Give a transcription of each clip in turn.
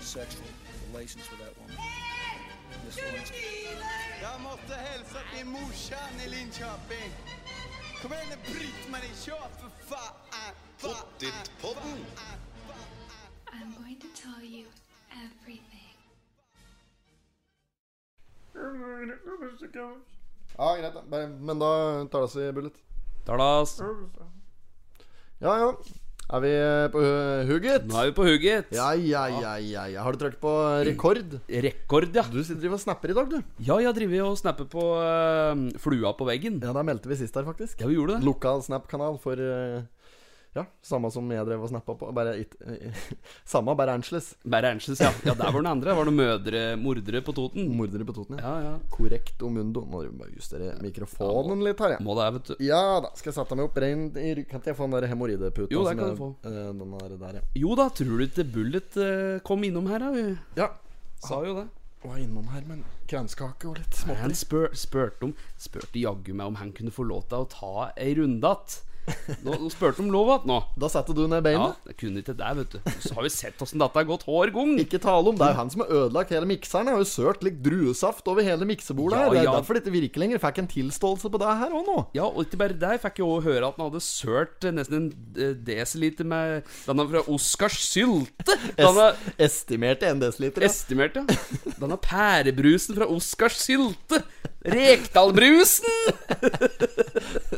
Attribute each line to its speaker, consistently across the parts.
Speaker 1: sexual relations with that woman. Miss Lewinsky.
Speaker 2: Jeg måtte hilse til morsan i Linköping. Kom igjen, Britt-Marie, kjør, for faen!
Speaker 3: Pottitpodden.
Speaker 4: I'm going to tell you everything.
Speaker 5: Ja, greit. da. Bare, men da tar det oss i bullet.
Speaker 6: Talas.
Speaker 5: Ja, ja. Er vi eh, på eh, hugget?
Speaker 6: Nå er vi på hugget.
Speaker 5: Ja, ja, ja, ja, ja. Har du trykt på eh, rekord?
Speaker 6: Rekord, ja.
Speaker 5: Du sitter og snapper i dag, du.
Speaker 6: Ja, jeg driver og snapper på eh, flua på veggen.
Speaker 5: Ja, der meldte vi sist her, faktisk.
Speaker 6: Ja, vi gjorde det.
Speaker 5: Lokal Snap-kanal for eh, Ja, samme som jeg drev og snappa på. Bare it, Samme, bare Angeles.
Speaker 6: Bare Angeles, ja. ja. Der var den andre. Var det mødre, mordere på Toten?
Speaker 5: Mordere på Toten, ja.
Speaker 6: Ja, ja.
Speaker 5: Korrekt omundo. Nå må vi bare justere mikrofonen litt her, ja.
Speaker 6: Må det, vet du.
Speaker 5: Ja da, skal jeg sette meg opp rent i ryggen? Kan ikke jeg få den der hemoroideputa?
Speaker 6: Jo, det
Speaker 5: som
Speaker 6: kan
Speaker 5: jeg-
Speaker 6: du få.
Speaker 5: eh, Den der, der, ja.
Speaker 6: Jo da, tror du ikke Bullet eh, kom innom her, da? Vi
Speaker 5: ja.
Speaker 6: sa jo det.
Speaker 5: Var innom her med en kranskake og litt smått.
Speaker 6: Han spør, spurte om Spurte jaggu meg om han kunne få lov til å ta ei runde att. Nå nå spurte om lov att nå.
Speaker 5: Da setter du ned
Speaker 6: Ja,
Speaker 5: beinet.
Speaker 6: jeg kunne ikke det, vet du. Så har vi sett åssen dette har gått hver gang.
Speaker 5: Ikke tale om, Det er jo han som har ødelagt hele mikseren. Jeg har jo sølt litt druesaft over hele miksebordet.
Speaker 6: Ja,
Speaker 5: her Det er
Speaker 6: ja.
Speaker 5: derfor det ikke virker lenger. Fikk en tilståelse på det her òg nå.
Speaker 6: Ja, og ikke bare der fikk jeg også høre at han hadde sølt eh, nesten en eh, desiliter med Denne fra Oscars sylte! Denne
Speaker 5: Es estimerte en desiliter. Ja.
Speaker 6: estimerte, ja. Denne pærebrusen fra Oscars sylte! Rekdalbrusen!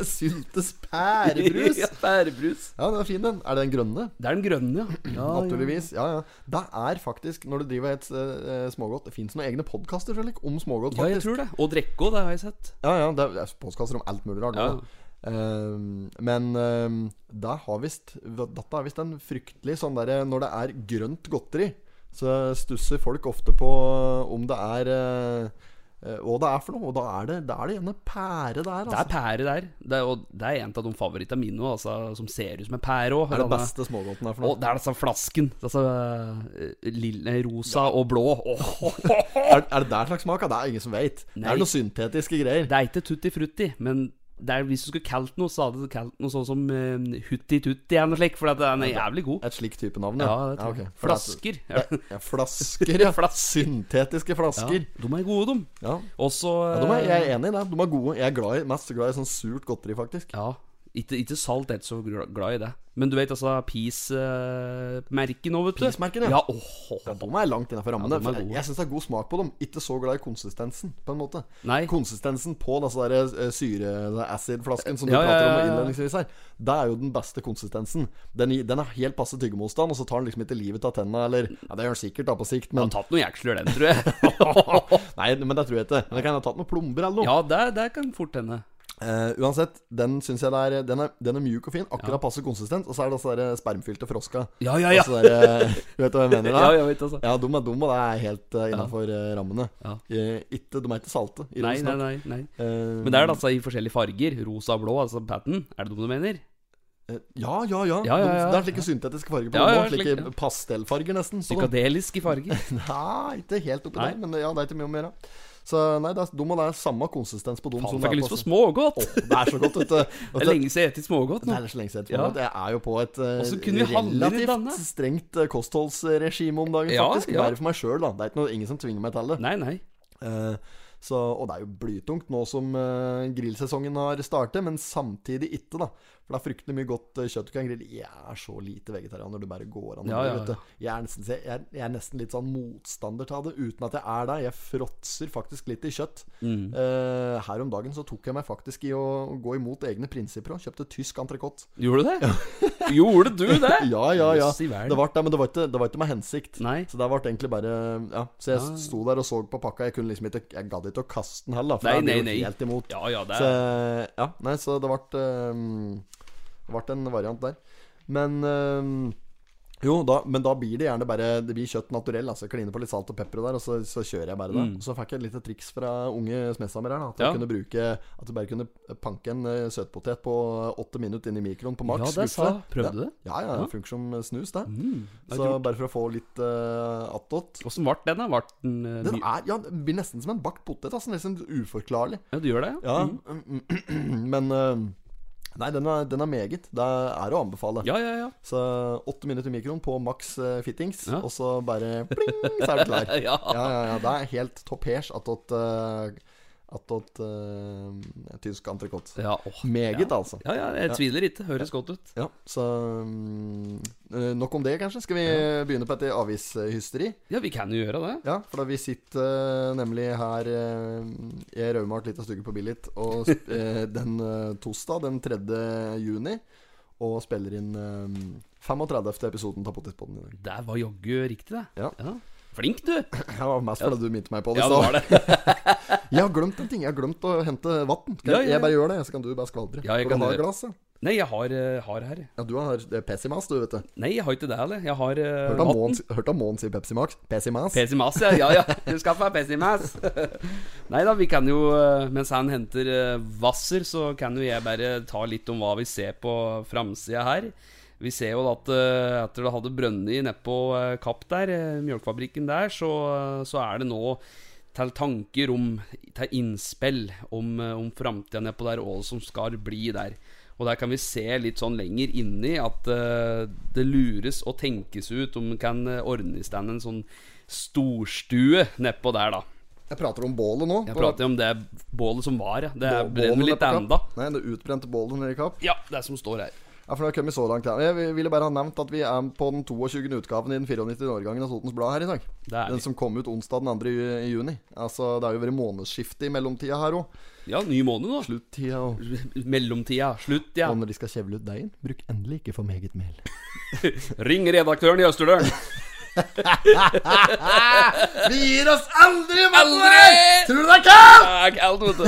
Speaker 5: Syltes pærebrus.
Speaker 6: ja, pærebrus.
Speaker 5: Ja, den er fin, den. Er det den grønne?
Speaker 6: Det er den grønne, ja. ja, ja.
Speaker 5: Naturligvis. Ja, ja. Det er faktisk, når du driver et eh, smågodt Det fins noen egne podkaster om smågodt,
Speaker 6: Ja, jeg
Speaker 5: faktisk.
Speaker 6: tror det. Og drikke òg, det har jeg sett.
Speaker 5: Ja, ja, det er, det er podkaster om alt mulig rart.
Speaker 6: Ja.
Speaker 5: da. Ehm, men ehm, det har visst Dette er visst en fryktelig sånn derre Når det er grønt godteri, så stusser folk ofte på om det er eh, eh, hva det er for noe. Og da er det, da er det gjerne pære der,
Speaker 6: Det er
Speaker 5: altså.
Speaker 6: pære der. Det er, og det er en av de favorittene mine også, altså, som ser ut som en pære òg.
Speaker 5: Det er det beste smågodten her for
Speaker 6: Og
Speaker 5: noe.
Speaker 6: det er disse flasken. Disse eh, lille, rosa og blå. Åh
Speaker 5: Er, er det der slags smak? Ja, Det er ingen som veit. Det
Speaker 6: Nei.
Speaker 5: er noen syntetiske greier.
Speaker 6: Det er ikke tutti frutti, men det er, hvis du skulle kalt noe, så hadde du kalt noe sånn som eh, hutti tutti eller noe slikt, for at den er jævlig god.
Speaker 5: Et slikt type navn,
Speaker 6: Ja, det tror
Speaker 5: ok.
Speaker 6: jeg.
Speaker 5: For det er-
Speaker 6: Flasker. Ja.
Speaker 5: Ja, flasker, ja.
Speaker 6: Flasker.
Speaker 5: Syntetiske
Speaker 6: Ja,
Speaker 5: flasker.
Speaker 6: de er gode, de.
Speaker 5: Ja.
Speaker 6: Og så
Speaker 5: Ja, de er, jeg
Speaker 6: Eh.
Speaker 5: er enig i det. De er gode. Jeg er glad i, mest glad i sånn surt godteri, faktisk.
Speaker 6: ja, ikke, ikke salt, jeg er ikke så gla- glad i det. Men du vet altså eh, Peace-merket nå, vet du.
Speaker 5: Peace-merken, ja.
Speaker 6: ja. åh,
Speaker 5: Ja, de er langt innafor rammene.
Speaker 6: Ja, de er
Speaker 5: for jeg
Speaker 6: gode.
Speaker 5: jeg syns det er god smak på dem. Ikke så glad i konsistensen, på en måte.
Speaker 6: Nei.
Speaker 5: Konsistensen på disse der eh, syre eller acid-flasken som du
Speaker 6: Ja, ja,
Speaker 5: prater
Speaker 6: ja,
Speaker 5: om
Speaker 6: ja.
Speaker 5: innledningsvis her, det er jo den beste konsistensen. Den, i- den er helt passe tyggemotstand, og så tar den liksom ikke livet av tenna, eller Ja, det gjør den sikkert, da, på sikt,
Speaker 6: Jeg har
Speaker 5: men
Speaker 6: tatt noen jeksler, den, tror jeg.
Speaker 5: Nei, men det tror jeg ikke. Men det kan ha tatt noen plomber eller noe.
Speaker 6: ja, det, det kan fort hende.
Speaker 5: Eh, uansett, den syns jeg det er Den er, den er mjuk og fin, akkurat passe konsistent, og så er det disse der spermfylte froska.
Speaker 6: Ja, ja, ja.
Speaker 5: Altså der, du vet hva jeg mener? da?
Speaker 6: Ja, jeg vet altså.
Speaker 5: Ja, dum er dum, og det er helt uh, innafor rammene.
Speaker 6: Ja.
Speaker 5: Eh, ikke, de er ikke salte.
Speaker 6: Nei,
Speaker 5: ironisk
Speaker 6: nei,
Speaker 5: nok.
Speaker 6: nei. nei.
Speaker 5: Eh,
Speaker 6: Men det er altså i forskjellige farger. Rosa og blå, altså patten. Er det dem du mener?
Speaker 5: eh, ja, ja, ja.
Speaker 6: Ja, ja, ja.
Speaker 5: Det er slike syntetiske farger på
Speaker 6: Ja,
Speaker 5: dem
Speaker 6: ja,
Speaker 5: også, Slike
Speaker 6: slik, ja.
Speaker 5: pastellfarger, nesten. Så de-
Speaker 6: Psykadelisk i farger.
Speaker 5: Nei, ikke helt oppi
Speaker 6: Nei.
Speaker 5: der, men ja, det er ikke mye om å gjøre. Så nei, det er, de og det er samme konsistens på dem
Speaker 6: Faen,
Speaker 5: som
Speaker 6: fikk
Speaker 5: det er
Speaker 6: jeg lyst
Speaker 5: på
Speaker 6: på smågodt!
Speaker 5: Åh, det er så godt, vet du.
Speaker 6: Det er lenge siden jeg har spist smågodt nå.
Speaker 5: Det er så lenge siden.
Speaker 6: Ja.
Speaker 5: Jeg er jo på et eh,
Speaker 6: Og så kunne vi handle i denne.
Speaker 5: relativt strengt eh, kostholdsregime om dagen,
Speaker 6: Ja,
Speaker 5: faktisk.
Speaker 6: ja.
Speaker 5: Bare for meg sjøl, da. Det er ikke noe, ingen som tvinger meg til det.
Speaker 6: Nei, nei.
Speaker 5: Eh, så, og det er jo blytungt nå som eh, grillsesongen har startet, men samtidig ikke, da. For det er fryktelig mye godt eh, kjøtt du kan grille. Jeg er så lite vegetarianer det bare går an å
Speaker 6: Ja,
Speaker 5: bli,
Speaker 6: ja,
Speaker 5: vet
Speaker 6: ja.
Speaker 5: du. Jeg er, nesten, jeg, er, jeg er nesten litt sånn motstander til det, uten at jeg er det. Jeg fråtser faktisk litt i kjøtt.
Speaker 6: Mm.
Speaker 5: Eh, her om dagen så tok jeg meg faktisk i å gå imot egne prinsipper og kjøpte tysk entrecôte.
Speaker 6: Gjorde du det? Gjorde du det?
Speaker 5: Ja, ja, ja.
Speaker 6: Jøss i verden.
Speaker 5: Det var det, men det var ikke, det var ikke med hensikt.
Speaker 6: Nei. Ah.
Speaker 5: Så det ble egentlig bare Ja. Så jeg sto der og så på pakka. Jeg kunne liksom ikke Jeg gadd ikke å kaste den heller, for
Speaker 6: Nei,
Speaker 5: jeg
Speaker 6: nei,
Speaker 5: blir
Speaker 6: nei.
Speaker 5: jo helt imot.
Speaker 6: Ja, ja, det
Speaker 5: Så
Speaker 6: er
Speaker 5: ja, nei, så det ble ehm, Det ble en variant der. Men ehm, jo, da, men da blir det gjerne bare Det blir kjøtt naturell. Altså Kline på litt salt og pepper og der, og så, så kjører jeg bare det. Og Så fikk jeg et lite triks fra unge smedshammer her. da, At jeg
Speaker 6: Mm. Ja.
Speaker 5: kunne bruke At du bare kunne panke en eh, søtpotet på åtte minutter inn i mikroen på maks.
Speaker 6: Ja, det sa- prøvde du det?
Speaker 5: Ja, ja, det funker som snus, det.
Speaker 6: Mhm. det er
Speaker 5: så
Speaker 6: lurt.
Speaker 5: bare for å få litt uh, attåt.
Speaker 6: Åssen ble den, da? Ble den eh,
Speaker 5: Den
Speaker 6: mye-
Speaker 5: er, ja, det blir nesten som en
Speaker 6: Mm.
Speaker 5: bakt potet. Altså, nesten uforklarlig.
Speaker 6: Ja, du gjør det? ja?
Speaker 5: Ja, men eh, Nei, den er, den er meget. Det er å anbefale.
Speaker 6: Ja, ja, ja.
Speaker 5: Så åtte minutter mikroen på maks eh, fittings,
Speaker 6: Ja.
Speaker 5: og så bare pling, så er du klar.
Speaker 6: Ja.
Speaker 5: ja, ja, ja. Det er helt toppers attåt uh, Attåt eh, tysk entrecôte.
Speaker 6: ja. åh.
Speaker 5: Meget,
Speaker 6: ja.
Speaker 5: altså.
Speaker 6: Ja, ja, jeg tviler ikke. Høres godt ut.
Speaker 5: Ja, så mm, eh, Nok om det, kanskje. Skal vi begynne på et avishysteri?
Speaker 6: Ja, vi kan jo gjøre det.
Speaker 5: Ja, for da vi sitter eh, nemlig her eh, Jeg rauma et lite stykke på Billit og sp- eh, den eh, torsdag den 3. juni. Og spiller inn eh, 35. episoden av Potetpodden i dag.
Speaker 6: Det var jaggu riktig, det.
Speaker 5: Ja.
Speaker 6: Flink, du.
Speaker 5: Det var mest fordi du minte meg på det. i
Speaker 6: Ja, det
Speaker 5: stad.
Speaker 6: var det.
Speaker 5: Jeg har glemt en ting. Jeg har glemt å hente vann. Skal
Speaker 6: Ja,
Speaker 5: jeg-
Speaker 6: ja, ja.
Speaker 5: Jeg bare gjør det, så kan du bare skvaltre.
Speaker 6: Ja, jeg
Speaker 5: For du
Speaker 6: kan
Speaker 5: har
Speaker 6: gjøre det.
Speaker 5: glass, ja.
Speaker 6: Nei, jeg har, eh, har her.
Speaker 5: Ja, du har det er Pepsi Max, du, vet det.
Speaker 6: Nei, jeg har ikke det heller. Jeg har eh,
Speaker 5: Hørt av
Speaker 6: vatten.
Speaker 5: Måns- Hørt om Måns i Pepsi Max? Pepsi Max?
Speaker 6: PC Mas, ja. Ja, ja. Du skal få PC Mas. Nei da, vi kan jo eh, Mens han henter eh, Hvasser, så kan jo jeg bare ta litt om hva vi ser på framsida her. Vi ser jo at eh, etter det hadde brønnet nedpå Kapp der, eh, mjølkefabrikken der, så, eh, så er det nå til tanker om Til innspill om, eh, om framtida nedpå der, og hva som skal bli der. Og der kan vi se litt sånn lenger inni at eh, det lures og tenkes ut om en kan eh, ordne i stand en sånn storstue nedpå der, da.
Speaker 5: Jeg prater om bålet nå.
Speaker 6: Jeg
Speaker 5: På-
Speaker 6: prater jo om det bålet som var, ja. Det
Speaker 5: bålet
Speaker 6: brenner
Speaker 5: nede
Speaker 6: litt
Speaker 5: på Kapp.
Speaker 6: enda.
Speaker 5: Nei, det utbrente bålet nede i Kapp.
Speaker 6: Ja, det som står her.
Speaker 5: Ja, for det har kommet så langt her. Jeg ville bare ha nevnt at vi er på den 22. utgaven i den 94. årgangen av Sotens Blad her i dag.
Speaker 6: Det er
Speaker 5: Den
Speaker 6: vi.
Speaker 5: som kom ut onsdag den 2. ju- i juni. Altså, det har jo vært månedsskifte i mellomtida her òg.
Speaker 6: Ja, ny måned nå.
Speaker 5: Sluttida og
Speaker 6: Mellomtida. Slutt, ja.
Speaker 5: Og når de skal kjevle ut deigen, bruk endelig ikke for meget mel.
Speaker 6: Ring redaktøren i Østerdølen.
Speaker 5: Vi gir oss aldri,
Speaker 6: Aldri!
Speaker 5: Tror du det er kaldt?
Speaker 6: Det er kaldt, vet du.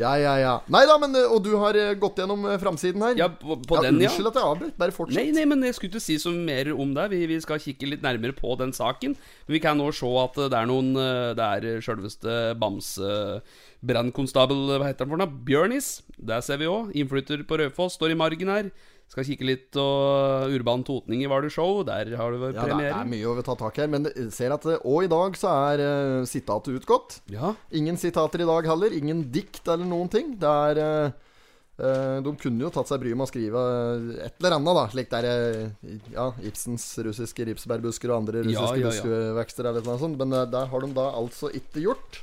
Speaker 5: Ja, ja, ja. Nei da, men eh, Og du har eh, gått gjennom eh, framsiden her?
Speaker 6: Ja, på, på den, ja.
Speaker 5: Unnskyld at jeg avbrøt. Bare fortsett.
Speaker 6: Nei, nei, men jeg skulle ikke si så mer om det. Vi, vi skal kikke litt nærmere på den saken. Men vi kan nå se at det er noen eh, Det er sjølveste Bamse-brannkonstabel eh, Hva heter han for noe? Bjørnis. Der ser vi òg. Innflytter på Raufoss. Står i margen her. Skal kikke litt og eh, Urban Totning i Var det show? Der har det vært
Speaker 5: Ja, det er- det er
Speaker 6: premiere.
Speaker 5: mye å ta tak i her, men det- ser at eh, Og i dag så er eh, sitatet utgått.
Speaker 6: Ja,
Speaker 5: Ingen sitater i dag heller. Ingen dikt eller noen ting. Det er eh, eh, De kunne jo tatt seg bryet med å skrive eh, et eller annet, da. Slik der eh, ja, Ibsens russiske ripsbærbusker og andre
Speaker 6: Ja,
Speaker 5: russiske
Speaker 6: ja, ja.
Speaker 5: buskvekster eller noe sånt. Men eh, det har de da altså ikke gjort.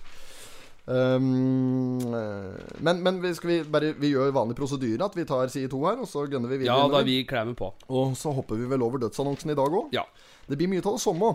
Speaker 5: Um, eh, men men vi, skal vi bare Vi gjør vanlig prosedyre, at vi tar side to her, og så gønner vi
Speaker 6: ja
Speaker 5: videre.
Speaker 6: da
Speaker 5: innover.
Speaker 6: vi klemmer på.
Speaker 5: Og så hopper vi vel over dødsannonsen i dag òg.
Speaker 6: Ja.
Speaker 5: Det blir mye av det samme.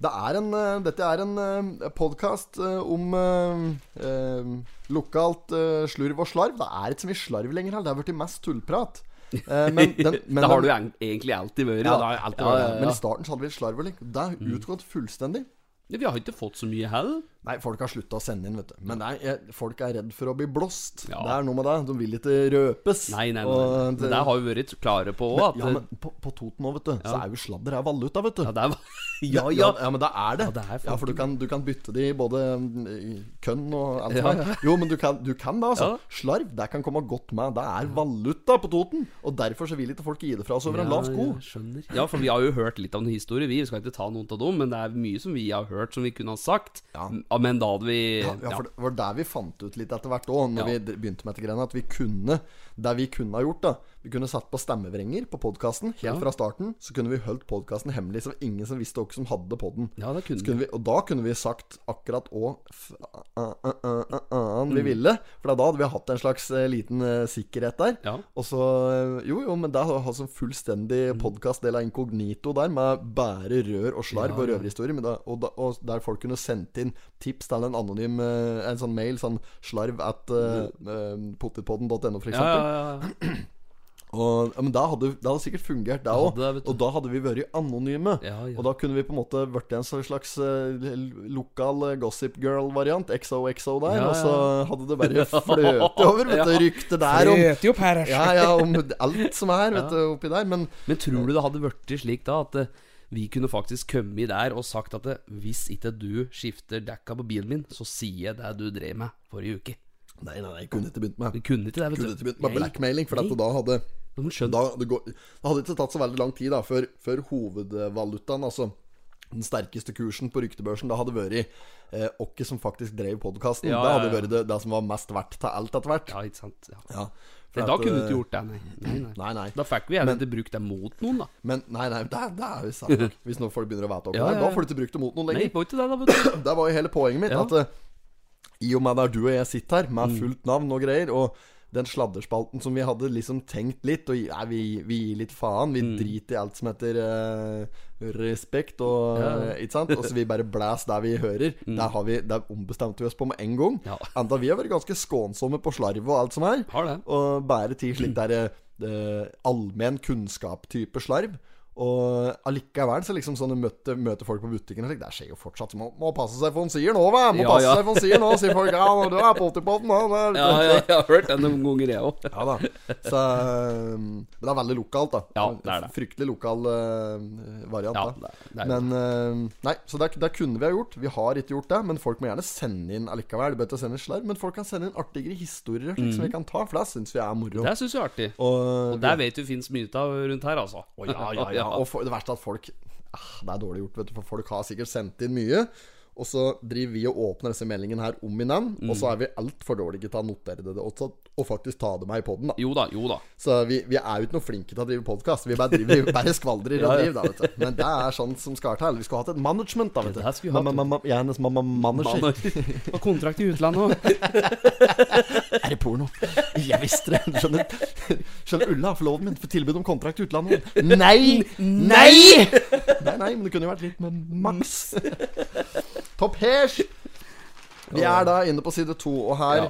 Speaker 5: Det er en, eh, dette er en uh, podkast om eh, eh, lokalt eh, slurv og slarv. Det er ikke så mye slarv lenger her. Det har blitt mest tullprat. Eh, men, den, men,
Speaker 6: det har du
Speaker 5: den,
Speaker 6: eng- egentlig alltid vært.
Speaker 5: ja,
Speaker 6: da.
Speaker 5: det har alltid
Speaker 6: Ja,
Speaker 5: vært
Speaker 6: ja, Mm.
Speaker 5: det.
Speaker 6: ja.
Speaker 5: Men i starten så hadde vi et slarv og link. Det er utgått fullstendig.
Speaker 6: Ja, Vi har ikke fått så mye hell.
Speaker 5: Nei, folk har slutta å sende inn, vet du. Men nei, jeg, folk er redd for å bli blåst.
Speaker 6: Ja.
Speaker 5: Det er noe med det. De vil ikke røpes.
Speaker 6: Nei, nei, nei.
Speaker 5: Og
Speaker 6: Men
Speaker 5: det-
Speaker 6: Der har vi vært klare på òg at
Speaker 5: ja, men på, på Toten òg, vet du, så er jo sladder er valuta, vet du.
Speaker 6: Ja, der var
Speaker 5: Ja, ja, ja, men det er det.
Speaker 6: Ja, det er
Speaker 5: ja, for du
Speaker 6: faktisk-
Speaker 5: kan, du kan bytte de i både mm, i kønn og alt
Speaker 6: Ja,
Speaker 5: som er. Jo, men du kan, du kan det, altså.
Speaker 6: Ja.
Speaker 5: Slarv, det kan komme godt med. Det er valuta på Toten. Og derfor så vil ikke folk gi det fra seg over en lav sko.
Speaker 6: Ja, skjønner. Ja, for vi har jo hørt litt av noen historier, vi. Vi skal ikke ta noen av dem, men det er mye som vi har hørt som vi kunne ha sagt.
Speaker 5: Ja.
Speaker 6: M- Men da hadde vi
Speaker 5: Ja, ja, for det var der vi fant ut litt etter hvert òg, når
Speaker 6: Ja.
Speaker 5: vi dr- begynte med dette greiene, at vi kunne Det vi kunne ha gjort, da Vi kunne satt på stemmevrenger på podkasten helt
Speaker 6: Ja.
Speaker 5: fra starten. Så kunne vi holdt podkasten hemmelig, så ingen som visste hvem som hadde podden.
Speaker 6: Ja, det kunne
Speaker 5: Så kunne vi, og da kunne vi sagt akkurat hva
Speaker 6: Mm.
Speaker 5: vi ville. For da hadde vi hatt en slags eh, liten eh, sikkerhet der.
Speaker 6: Ja. Mm.
Speaker 5: Og så eh, Jo, jo, men det er altså en fullstendig podkastdel av Inkognito der, med bare rør og slarv og røverhistorier. men da- Og, da- og der folk kunne sendt inn tips til en anonym eh, En sånn mail, sånn slarv at uh, potetpodden.no, for
Speaker 6: Mm. Ja,
Speaker 5: eksempel.
Speaker 6: ja, ja.
Speaker 5: Og, ja, men da hadde, det hadde sikkert fungert, det
Speaker 6: hadde
Speaker 5: òg.
Speaker 6: det, vet du.
Speaker 5: Og da hadde vi vært anonyme.
Speaker 6: Ja, ja.
Speaker 5: Og da kunne vi på en måte blitt en sånn slags eh, l- lokal eh, Gossip Girl-variant. XOXO der.
Speaker 6: Ja,
Speaker 5: Og så hadde det bare fløtet
Speaker 6: Ja.
Speaker 5: over, vet du. Ryktet der om
Speaker 6: jo per
Speaker 5: Ja, ja, om alt som er, vet du, oppi der. Men
Speaker 6: Men tror du det hadde vært slik da at eh, vi kunne faktisk kommet der og sagt at eh, hvis ikke du skifter dekka på bilen min, så sier jeg det du drev med forrige uke.
Speaker 5: Nei, nei, nei, jeg kunne ikke begynt med
Speaker 6: Vi kunne ikke det, vet du.
Speaker 5: Kunne ikke begynt med
Speaker 6: Nei.
Speaker 5: blackmailing, for at
Speaker 6: Nei.
Speaker 5: da hadde
Speaker 6: Men skjønn-
Speaker 5: da, det går, det hadde ikke tatt så veldig lang tid da før, før hovedvalutaen, altså den sterkeste kursen på ryktebørsen, da hadde vært eh, oss som faktisk drev podkasten.
Speaker 6: Ja,
Speaker 5: det
Speaker 6: ja,
Speaker 5: hadde
Speaker 6: ja.
Speaker 5: vært det, det som var mest verdt til alt etter hvert.
Speaker 6: Ja, ikke sant. Ja.
Speaker 5: Ja,
Speaker 6: Nei,
Speaker 5: at,
Speaker 6: da kunne du
Speaker 5: eh,
Speaker 6: ikke gjort det, nei. nei, nei.
Speaker 5: Nei, nei.
Speaker 6: Da fikk vi gjerne ikke brukt det mot noen, da.
Speaker 5: Men nei, nei, det, er- det er jo sant nok. Hvis nå folk begynner å vite om
Speaker 6: Ja,
Speaker 5: det, her,
Speaker 6: ja, ja.
Speaker 5: da får du ikke brukt det mot noen
Speaker 6: Nei,
Speaker 5: lenger.
Speaker 6: på ikke det, da, vet du.
Speaker 5: Det var jo hele poenget mitt.
Speaker 6: Ja.
Speaker 5: At
Speaker 6: Mm.
Speaker 5: eh, i og med det er du og jeg sitter her med fullt navn og greier, og den sladderspalten som vi hadde liksom tenkt litt Og nei, vi, vi gir litt faen. Vi
Speaker 6: Mm.
Speaker 5: driter i alt som heter eh, respekt og
Speaker 6: Ja. Mm.
Speaker 5: Ikke sant? Og så vi bare blæs der vi hører. Der, har vi, der ombestemte vi oss på med en gang.
Speaker 6: Ja.
Speaker 5: Enda vi har vært ganske skånsomme på slarv og alt som er.
Speaker 6: Har det.
Speaker 5: Og bære til slik der eh, allmenn kunnskap-type slarv. Og allikevel så liksom sånne møte, møte folk på butikken og slik, det skjer jo fortsatt. Så må, må passe seg for hun sier nå, hva! Må
Speaker 6: Ja,
Speaker 5: passe
Speaker 6: ja.
Speaker 5: seg for hun sier nå, sier folk. Ja, nå, du er på 80-potten, nå. nå er det-
Speaker 6: Ja, ja, jeg har hørt det noen ganger, jeg òg.
Speaker 5: ja da. Så eh, Men det er veldig lokalt, da.
Speaker 6: Ja, det er det.
Speaker 5: Fryktelig lokal eh, variant,
Speaker 6: Ja,
Speaker 5: da.
Speaker 6: det er- det er
Speaker 5: men eh, Nei, så det, er- det kunne vi ha gjort. Vi har ikke gjort det. Men folk må gjerne sende inn allikevel. Det bør ikke sende slarv, men folk kan sende inn artigere historier slik, som vi kan ta, for det syns vi er moro.
Speaker 6: Mm. Det syns jeg er artig.
Speaker 5: Og,
Speaker 6: Og der vet du fins mye av rundt her, altså.
Speaker 5: Å, ja, ja, ja. Og for, det verste er at folk ah, Det er dårlig gjort, vet du, for folk har sikkert sendt inn mye. Og så driver vi og åpner disse meldingene her om igjen, og så er vi altfor dårlige til å notere det og, ta- og faktisk ta det med i poden.
Speaker 6: Jo da, jo da.
Speaker 5: Så vi, vi er jo ikke noe flinke til å drive podkast. Vi bare, driver, bare skvaldrer og driver, da, vet du. Men det er sånn som skal til. Vi skulle hatt et management, da, vet du.
Speaker 6: Det her skulle vi hatt,
Speaker 5: Ma- ma- ma- jeg er hennes mamma manager.
Speaker 6: Og kontrakt i utlandet òg.
Speaker 5: Er det porno? Jeg visste det. Skjønner, skjønner Ulla, forloven min, får tilbud om kontrakt i utlandet. Nei! Nei! Nei, nei, men det kunne jo vært litt med maks. Topp hers! Vi er da inne på side to, og her
Speaker 6: Ja.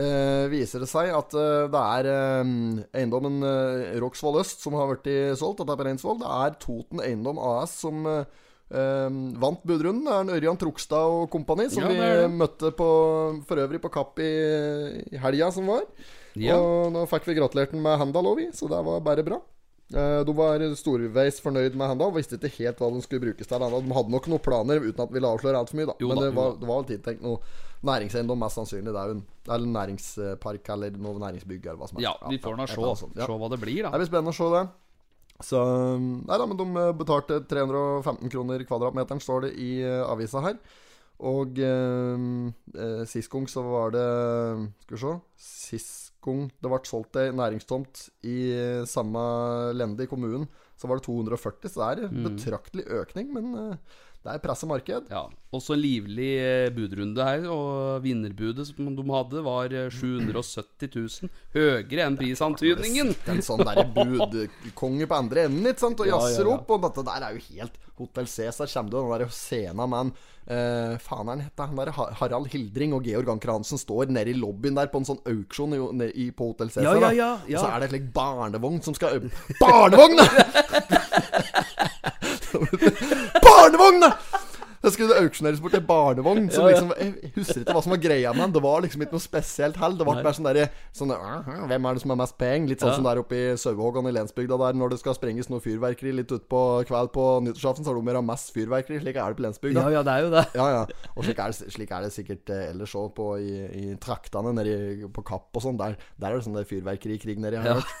Speaker 5: eh, viser det seg at eh, det er eh, eiendommen eh, Roksvoll øst som har blitt solgt. Dette er på Reinsvoll. Det er Toten Eiendom AS som eh, eh, vant budrunden. Det er en Ørjan Trogstad og kompani som
Speaker 6: Ja, det er
Speaker 5: vi møtte på, for øvrig på Kapp i, i helga som var.
Speaker 6: Ja.
Speaker 5: Og nå fikk vi gratulert den med Handal òg, vi, så det var bare bra. Eh, De var storveis fornøyd med Handal, visste ikke helt hva den skulle brukes til. Handal. De hadde nok noen planer, uten at vi ville avsløre altfor mye, da.
Speaker 6: Jo
Speaker 5: Men
Speaker 6: da,
Speaker 5: det
Speaker 6: jo
Speaker 5: var,
Speaker 6: da.
Speaker 5: det var vel tiltenkt noe næringseiendom, mest sannsynlig. Det er jo en eller en næringspark eller noe næringsbygg eller hva som
Speaker 6: ja, vi får nå
Speaker 5: et
Speaker 6: se,
Speaker 5: eller annet sånt, ja.
Speaker 6: se hva det blir,
Speaker 5: Det
Speaker 6: da.
Speaker 5: blir spennende å se det. Så Nei da, men de eh, betalte 315 kroner kvadratmeteren, står det i eh, avisa her. Og eh, eh, sist gang så var det Skal vi se Sist gang det ble solgt ei næringstomt i eh, samme lende i kommunen, så var det 240, så det er en betraktelig økning, men eh, det er presset marked.
Speaker 6: Ja. Også en livlig eh, budrunde her, og vinnerbudet som de hadde, var eh, 770 000. Høyere enn prisantydningen!
Speaker 5: Det er En sånn derre budkonge på andre enden, ikke sant, og
Speaker 6: Ja, ja,
Speaker 5: jazzer
Speaker 6: ja.
Speaker 5: opp. Og dette der er jo helt Hotell Cæsar. Kommer du den der scenen med han eh, Faen, er han hette? Han der Har- Harald Hildring og Georg Anker Hansen står nede i lobbyen der på en sånn auksjon i, nede i, på Hotell Cæsar.
Speaker 6: Ja, ja,
Speaker 5: da.
Speaker 6: ja, ja.
Speaker 5: Og så er det en slik barnevogn som skal ø- Barnevogn! barnevogn! da! Det skulle auksjoneres bort en barnevogn. Som
Speaker 6: Ja, ja.
Speaker 5: liksom, jeg husker ikke hva som var greia med den. Det var liksom ikke noe spesielt hell. Det ble
Speaker 6: Nei.
Speaker 5: mer sånn derre sånn, «Aha, Hvem er det som har mest penger? Litt sånn
Speaker 6: Ja.
Speaker 5: som der oppe i Sauehoggan i lensbygda der når det skal sprenges noe fyrverkeri litt utpå kveld på nyttårsaften, så har de mer av mest fyrverkeri. Slik er det på lensbygda.
Speaker 6: Ja, ja, det er jo det.
Speaker 5: Ja, ja. Og slik er det, slik er det sikkert eh, ellers òg, på i, i traktene nedi på Kapp og sånn. Der, der er det sånn der fyrverkerikrig nedi, har jeg hørt.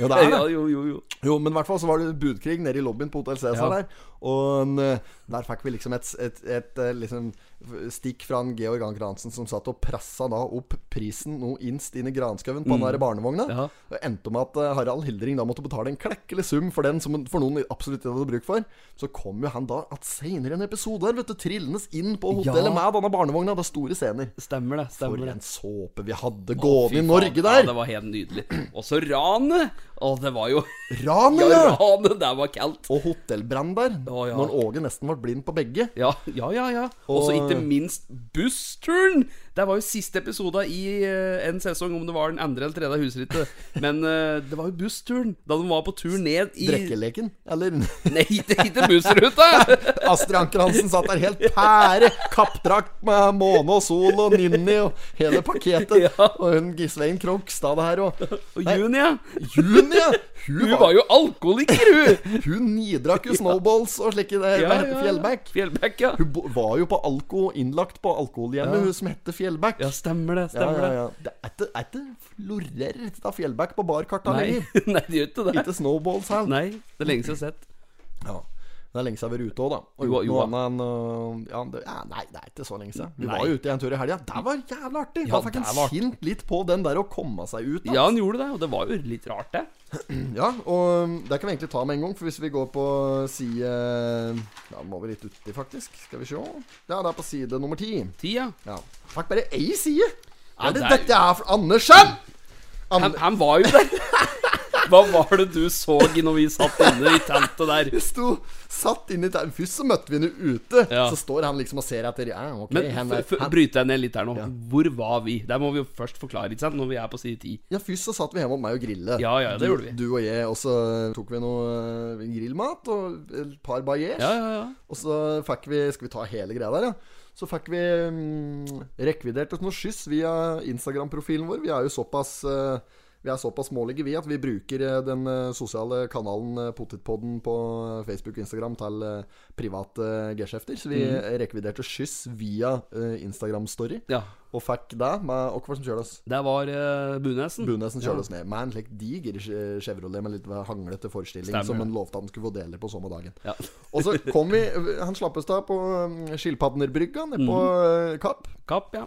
Speaker 5: Ja, det er det.
Speaker 6: Ja, jo, jo, jo.
Speaker 5: Jo, men i hvert fall så var det budkrig nede i lobbyen på Hotell Cæsar
Speaker 6: Ja.
Speaker 5: der. Og en, eh, der fikk vi liksom et, et, et, eh, liksom f- stikk fra en Georg Anker Hansen som satt og pressa da opp prisen noe innst inn i granskauen på den der barnevogna.
Speaker 6: Mm. Ja.
Speaker 5: Det endte med at eh, Harald Hildring da måtte betale en klekkelig sum for den som for noen absolutt ikke hadde bruk for. Så kom jo han da at seinere i en episode her, vet du, trillende inn på hotellet
Speaker 6: Ja.
Speaker 5: med denne barnevogna. Det er store scener.
Speaker 6: Stemmer det.
Speaker 5: For
Speaker 6: stemmer det
Speaker 5: en såpe vi hadde
Speaker 6: Å,
Speaker 5: gående i
Speaker 6: fy faen.
Speaker 5: Norge
Speaker 6: Ja, det
Speaker 5: der!
Speaker 6: var helt nydelig. Og så ranet! Å, det var jo
Speaker 5: Ranet,
Speaker 6: Ja,
Speaker 5: ja!
Speaker 6: ranet! Det var kaldt.
Speaker 5: Og hotellbrann der.
Speaker 6: Å, ja.
Speaker 5: Når Åge nesten ble blind på begge.
Speaker 6: Ja, ja, ja. ja. Og så
Speaker 5: Og-
Speaker 6: ikke minst bussturen! Det var jo siste episode i eh, en sesong, om det var den andre eller tredje, jeg husker ikke. Men eh, det var jo bussturen! Da de var på tur ned i
Speaker 5: Drekkeleken, eller?
Speaker 6: Nei, det er ikke bussruta!
Speaker 5: Astrid Anker Hansen satt der helt pære, kappdrakt med måne og sol og Ninni og hele pakketet.
Speaker 6: Ja.
Speaker 5: Og hun Gislein Krogstad der og
Speaker 6: Og
Speaker 5: Nei,
Speaker 6: Junia,
Speaker 5: Junia! Hun,
Speaker 6: hun
Speaker 5: var,
Speaker 6: var jo alkoholiker, hun!
Speaker 5: hun nidrakk jo snowballs og slike der. Hva heter Fjellback?
Speaker 6: Fjellback, ja.
Speaker 5: Hun bo- var jo på alko, innlagt på alkoholhjemmet, hun som hette Fjellback.
Speaker 6: Ja, stemmer det.
Speaker 5: Ja,
Speaker 6: Stemmer
Speaker 5: ja, ja. Det er ikke- er ikke florerer ikke av Fjellback på barkarta
Speaker 6: det.
Speaker 5: lenger.
Speaker 6: Nei, nei, det gjør ikke det.
Speaker 5: Ikke snowballs heller.
Speaker 6: Nei, det er lenge siden jeg har sett.
Speaker 5: Ja. Det er lenge siden jeg har vært ute òg, da. Og
Speaker 6: Jo,
Speaker 5: gjort
Speaker 6: jo,
Speaker 5: noe annet enn øh, ja, det, ja, Nei, det er ikke så lenge siden. Vi
Speaker 6: Nei.
Speaker 5: var jo ute i en tur i helga. Det var jævla artig!
Speaker 6: Ja,
Speaker 5: da fikk
Speaker 6: det
Speaker 5: en
Speaker 6: var artig.
Speaker 5: sint litt på den der å komme seg ut. Da.
Speaker 6: Ja, han gjorde det, og det var jo litt rart, det.
Speaker 5: Ja, og um, det kan vi egentlig ta med en gang, for hvis vi går på side Da må vi litt uti, faktisk. Skal vi se. Ja, det er på side nummer ti.
Speaker 6: Tida.
Speaker 5: Ja. Fuck, bare ei side! Hva
Speaker 6: Ja,
Speaker 5: er det
Speaker 6: det er-
Speaker 5: dette er for Andersen?!
Speaker 6: Han,
Speaker 5: An
Speaker 6: han var jo der. Hva var det du så i når vi satt inne i teltet der?
Speaker 5: vi sto satt inn i der. Først så møtte vi henne ute.
Speaker 6: Ja.
Speaker 5: Så står han liksom og ser etter. Ja, ok,
Speaker 6: Men
Speaker 5: han
Speaker 6: f-
Speaker 5: er,
Speaker 6: f-
Speaker 5: han,
Speaker 6: bryter jeg ned litt her nå. Hvor var vi? Der må vi jo først forklare, ikke sant? Når vi er på side 10.
Speaker 5: Ja, først så satt vi hjemme hos meg og grille.
Speaker 6: Ja, ja, det
Speaker 5: du,
Speaker 6: gjorde vi.
Speaker 5: Du og jeg, og så tok vi noe eh, grillmat og et par bajers.
Speaker 6: Ja, ja, ja.
Speaker 5: Og så fikk vi Skal vi ta hele greia der, ja? Så fikk vi mm, rekvidert oss noe skyss via Instagram-profilen vår. Vi er jo såpass eh, Vi er såpass smålige, vi, at vi bruker eh, den eh, sosiale kanalen eh, Potetpodden på eh, Facebook og Instagram til eh, private geskjefter. Så vi
Speaker 6: Mm.
Speaker 5: eh, rekviderte skyss via eh, Instagram-story,
Speaker 6: ja.
Speaker 5: og fikk det med Og hva var det som kjørte oss?
Speaker 6: Der var uh, Bunesen.
Speaker 5: Bunesen kjørte oss ned med en slik diger Che- Chevrolet med litt hanglete forstilling
Speaker 6: Stemmer.
Speaker 5: som han lovte han skulle få dele på samme dagen.
Speaker 6: Ja.
Speaker 5: Og så kom vi Han slapp oss da på um, Skilpadnerbrygga nede på
Speaker 6: Mm.
Speaker 5: eh, Kapp.
Speaker 6: Kapp, ja.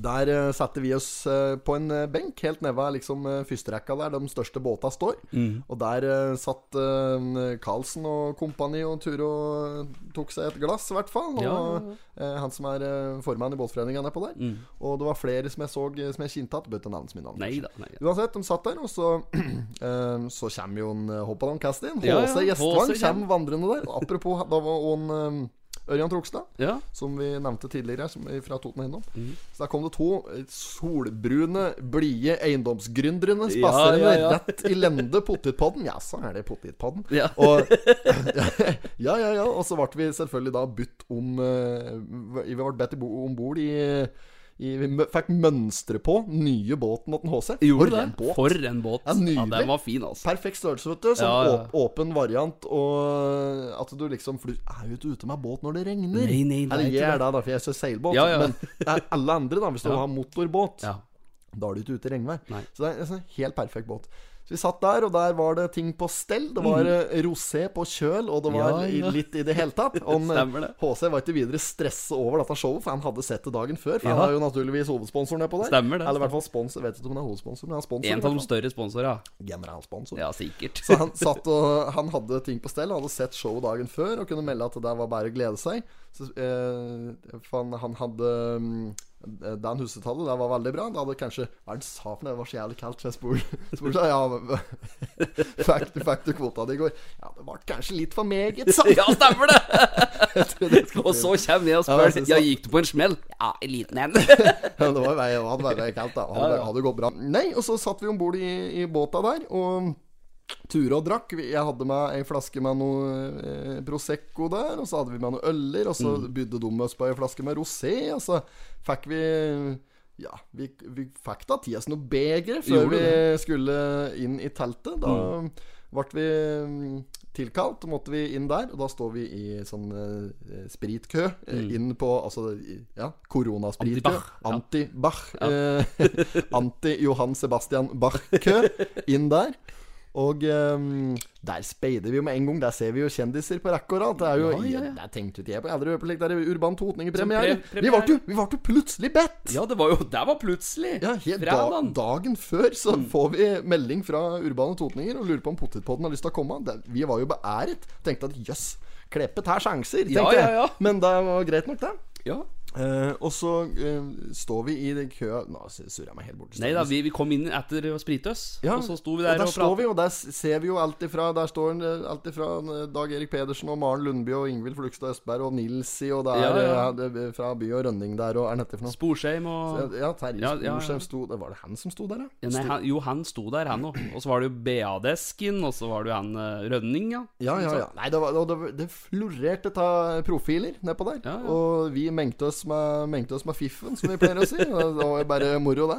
Speaker 5: Der eh, satte vi oss eh, på en eh, benk helt nede ved liksom, eh, førsterekka der de største båta står.
Speaker 6: Mm.
Speaker 5: Og der eh, satt eh, Carlsen og kompani og Turo tok seg et glass, i hvert fall. Og
Speaker 6: Ja, ja, Mm.
Speaker 5: eh, han som er eh, formann i båtforeninga nedpå der. Og det var flere som jeg så eh, som jeg kjente igjen. Bøtte navnet mitt navn.
Speaker 6: Nei da. Nei, da.
Speaker 5: Uansett, de satt der, og så eh, Så kommer jo en eh, Håpalong Castin. HC
Speaker 6: Ja, ja,
Speaker 5: Gjestvang
Speaker 6: HC
Speaker 5: kommer vandrende der. Og Apropos, da var han eh, Ørjan Trogstad,
Speaker 6: Ja.
Speaker 5: som vi nevnte tidligere, som er fra Toten Eiendom.
Speaker 6: Mm.
Speaker 5: Så der kom det to eh, solbrune, blide eiendomsgründerne spaserende
Speaker 6: Ja, ja, ja.
Speaker 5: rett i lende potetpodden. Ja, så er det potetpodden.
Speaker 6: Ja.
Speaker 5: Og, ja, ja, ja. Og så ble vi selvfølgelig da budt om eh, Vi ble bedt om bord i i, vi mø- fikk mønstre på nye båten til HC.
Speaker 6: Gjorde
Speaker 5: For
Speaker 6: det.
Speaker 5: en båt.
Speaker 6: For en båt.
Speaker 5: Ja,
Speaker 6: ja,
Speaker 5: nydelig.
Speaker 6: den var fin, altså.
Speaker 5: Perfekt størrelse, vet du. Som
Speaker 6: Ja, ja.
Speaker 5: åp- åpen variant. Og at du liksom For du er jo ikke ute med båt når det regner.
Speaker 6: Nei, nei, nei,
Speaker 5: Eller
Speaker 6: ikke
Speaker 5: jeg er
Speaker 6: det.
Speaker 5: det, da, for jeg kjører seilbåt.
Speaker 6: Ja, ja.
Speaker 5: Men det er alle andre, da, hvis du
Speaker 6: Ja.
Speaker 5: har motorbåt,
Speaker 6: Ja.
Speaker 5: da er du ikke ute i regnvær.
Speaker 6: Nei.
Speaker 5: Så det er en sånn helt perfekt båt. Så vi satt der, og der var det ting på stell. Det var eh, rosé på kjøl, og det var
Speaker 6: Mhm. Ja, ja.
Speaker 5: i- litt i det hele tatt. Og
Speaker 6: Stemmer det.
Speaker 5: HC var ikke videre stresset over dette showet, for han hadde sett det dagen før. For
Speaker 6: Ja.
Speaker 5: han er jo naturligvis hovedsponsoren nedpå der.
Speaker 6: Stemmer det.
Speaker 5: Eller i hvert fall sponsor. Vet ikke om han er hovedsponsor, men han er sponsor. i
Speaker 6: En
Speaker 5: hvert
Speaker 6: av de
Speaker 5: fall.
Speaker 6: større sponsorene.
Speaker 5: Generalsponsor.
Speaker 6: Ja, sikkert.
Speaker 5: Så han satt og Han hadde ting på stell. Han hadde sett showet dagen før og kunne melde at det der var bare å glede seg. Så, eh, for han, han hadde mm, Dan Husetallet, det var veldig bra. Det hadde kanskje Hva er det han sa for noe? Det var så jævlig kaldt. så Jeg spurte spur, Ja, men- fikk du- fikk du kvota di i går? Ja, det ble kanskje litt for meget, sa han.
Speaker 6: Ja, stemmer det!
Speaker 5: Jeg trodde jeg skulle
Speaker 6: Og
Speaker 5: si
Speaker 6: så kommer jeg og
Speaker 5: Ja, jeg
Speaker 6: spør
Speaker 5: synes
Speaker 6: Ja,
Speaker 5: det.
Speaker 6: gikk du på en smell? Ja, en liten en.
Speaker 5: Ja, det var vei, det hadde vært kaldt, da. Hadde, hadde gått bra. Nei, og så satt vi om bord i, i båta der, og Ture og drakk. Vi- Jeg hadde med ei flaske med noe eh, Prosecco der, og så hadde vi med noe øller, og så bydde de oss på ei flaske med rosé, og så fikk vi ja, vi, vi fikk da tida noe begre før
Speaker 6: Gjorde
Speaker 5: vi skulle inn i teltet. Da ble vi mm, tilkalt, måtte vi inn der, og da står vi i sånn eh, spritkø eh, inn på altså i- ja, koronaspritkø.
Speaker 6: Anti-Bach, ja.
Speaker 5: Anti-Bach. Eh, Anti-Johan Sebastian Bach-kø inn der. Og eh, der speider vi jo med en gang. Der ser vi jo kjendiser på rekke og rad. Det er jo
Speaker 6: Ja, ja, ja.
Speaker 5: Der tenkte ikke jeg på. Jeg hadde jo hørt på slik der Urban Totninger-premiere.
Speaker 6: Som pre-
Speaker 5: Vi ble jo- vi ble jo plutselig bedt!
Speaker 6: Ja, det var jo Det var plutselig.
Speaker 5: Ja, helt da,
Speaker 6: Fredagen.
Speaker 5: Dagen før så
Speaker 6: Mm.
Speaker 5: får vi melding fra Urbane Totninger og lurer på om Potetpodden har lyst til å komme. Det, vi var jo beæret. Tenkte at jøss, Kleppe tar sjanser, tenkte
Speaker 6: Ja, ja, ja.
Speaker 5: jeg. Men det var greit nok, det.
Speaker 6: Ja.
Speaker 5: Eh, og så eh, står vi i den køa Nå surrer jeg meg helt bort.
Speaker 6: Nei da, vi, vi kom inn etter å sprite oss,
Speaker 5: Ja,
Speaker 6: og så sto vi der og,
Speaker 5: står
Speaker 6: pratet.
Speaker 5: vi, og der s- ser vi jo alt ifra Der står en, eh, alt ifra eh, Dag Erik Pedersen og Maren Lundby og Ingvild Flugstad Østberg og Nilsi, og det er
Speaker 6: Ja, ja.
Speaker 5: eh, det er fra By og Rønning der, og er dette for noe?
Speaker 6: Sporsheim og
Speaker 5: Ja, Terje
Speaker 6: Ja, ja, ja.
Speaker 5: Sporsheim sto det Var det han som sto der, da?
Speaker 6: Ja, Nei, han, jo, han sto der, han òg. Og så var det jo BA-desken, og så var det jo han eh, Rønning, ja.
Speaker 5: Ja, ja, ja. Nei, det, var, det, var- det florerte av profiler nedpå der.
Speaker 6: Ja, ja.
Speaker 5: Og vi mengte oss, med, mengte oss med fiffen, som vi pleier å si. Og det var jo bare moro, det.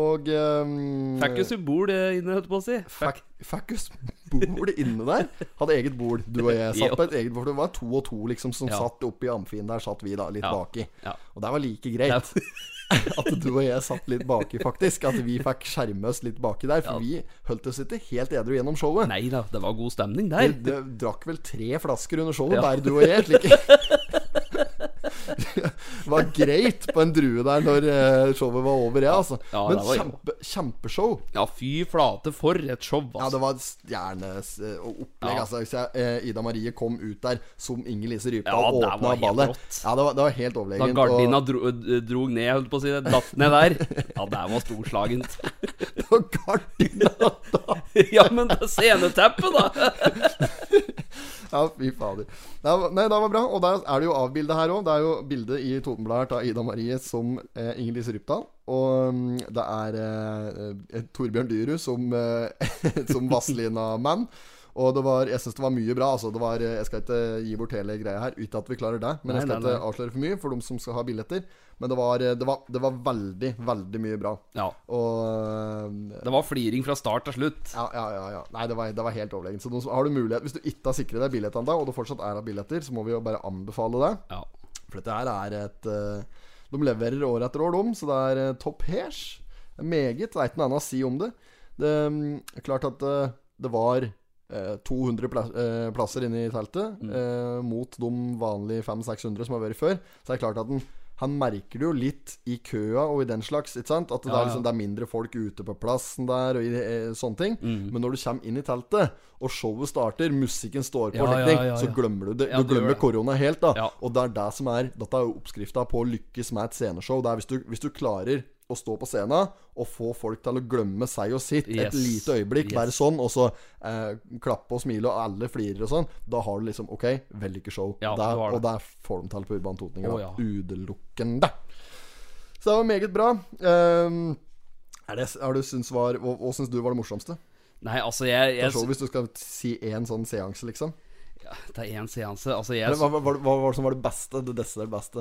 Speaker 5: Og um,
Speaker 6: Fikk jo symbol eh, inne, holdt jeg på å si.
Speaker 5: Fikk, fikk oss bord inne der. Hadde eget bord, du og jeg.
Speaker 6: Ja.
Speaker 5: Satt på et eget bord. Det var to og to liksom som
Speaker 6: Ja.
Speaker 5: satt oppe i amfien der, satt vi da litt
Speaker 6: Ja.
Speaker 5: baki.
Speaker 6: Ja.
Speaker 5: Og det var like greit
Speaker 6: Ja.
Speaker 5: at du og jeg satt litt baki, faktisk. At vi fikk skjerme oss litt baki der. For vi holdt oss ikke helt edru gjennom showet.
Speaker 6: Nei da, det var god stemning
Speaker 5: Vi
Speaker 6: der.
Speaker 5: d- drakk vel tre flasker under showet,
Speaker 6: Ja.
Speaker 5: bare du og jeg. Slik. Det var greit på en drue der når eh, showet var over, ja. Altså.
Speaker 6: Ja,
Speaker 5: Men
Speaker 6: det var-
Speaker 5: kjempe, kjempeshow.
Speaker 6: Ja, fy flate, for et show,
Speaker 5: Ja,
Speaker 6: altså.
Speaker 5: det var stjernes eh, og opplegg.
Speaker 6: Ja.
Speaker 5: Altså, hvis jeg, eh, Ida Marie kom ut der som Inger-Lise Rypdal
Speaker 6: Ja,
Speaker 5: og
Speaker 6: det var
Speaker 5: åpna
Speaker 6: helt
Speaker 5: ballet.
Speaker 6: rått.
Speaker 5: Ja, det var, det var helt
Speaker 6: Da
Speaker 5: overlegent.
Speaker 6: gardina
Speaker 5: og-
Speaker 6: dro, eh, drog ned, holdt på å si det, datt ned der. Ja, det var storslagent.
Speaker 5: og gardina da.
Speaker 6: Ja, men det sceneteppet, da!
Speaker 5: Ja, fy fader. Det var, nei, det var bra. Og der er det jo avbildet her òg. Det er jo bilde i Totenbladet her av Ida Marie som eh, Inger-Lise Rypdal. Og mm, det er eh, eh, Torbjørn Dyrud som, eh, som Vazelina-man. Og det var, jeg syns det var mye bra. Altså, det var, eh, jeg skal ikke gi bort hele greia her, uten at vi klarer det. Men jeg
Speaker 6: Nei,
Speaker 5: skal
Speaker 6: nei,
Speaker 5: ikke avsløre for mye for dem som skal ha billetter. Men det var, eh, det var, det var veldig, veldig mye bra.
Speaker 6: Ja,
Speaker 5: Og eh,
Speaker 6: det var fliring fra start til slutt.
Speaker 5: ja, ja, ja, ja. Nei, det var, det var helt overlegent. Så nå så har du mulighet Hvis du ikke har sikret deg billettene da, og det fortsatt er av billetter, så må vi jo bare anbefale det.
Speaker 6: Ja.
Speaker 5: For dette her er et eh, De leverer år etter år, de. Så det er eh, topp hesj. Meget. Det er ikke noe annet å si om det. Det mm, er klart at eh, det var eh, 200 pla eh, plasser inne i teltet,
Speaker 6: Mm.
Speaker 5: eh, mot de vanlige 500-600 som har vært før. Så det er klart at den, han merker det jo litt i køa og i den slags. Ikke sant? At det, er
Speaker 6: Ja, ja.
Speaker 5: liksom, det er mindre folk ute på plassen der og i, eh, sånne ting.
Speaker 6: Mm.
Speaker 5: Men når du kommer inn i teltet, og showet starter, musikken står på,
Speaker 6: Ja,
Speaker 5: og slik
Speaker 6: ja,
Speaker 5: ting,
Speaker 6: ja,
Speaker 5: så
Speaker 6: ja.
Speaker 5: glemmer du det.
Speaker 6: Ja,
Speaker 5: du
Speaker 6: du gjør
Speaker 5: glemmer
Speaker 6: det.
Speaker 5: korona helt, da.
Speaker 6: Ja.
Speaker 5: Og det er det som er Dette er jo oppskrifta på å lykkes med et sceneshow. Det er hvis du, hvis du klarer å stå på scenen og få folk til å glemme seg og sitt et
Speaker 6: Yes.
Speaker 5: lite øyeblikk,
Speaker 6: Yes.
Speaker 5: bare sånn, og så eh, klappe og smile, og alle flirer og sånn, da har du liksom OK, vellykket show.
Speaker 6: Ja,
Speaker 5: Der-
Speaker 6: du har det.
Speaker 5: og der får de til på Urban Totninger.
Speaker 6: Å,
Speaker 5: da.
Speaker 6: ja.
Speaker 5: Utelukkende. Så det var meget bra. Ehm, er det, er du syns var, hva, hva syns du var det morsomste?
Speaker 6: Nei, altså, jeg,
Speaker 5: På
Speaker 6: jeg
Speaker 5: showet, hvis du skal si én sånn seanse, liksom.
Speaker 6: Det er én seanse. Altså, jeg
Speaker 5: Eller, hva, hva, hva, hva var det som var det beste? Det desidert beste?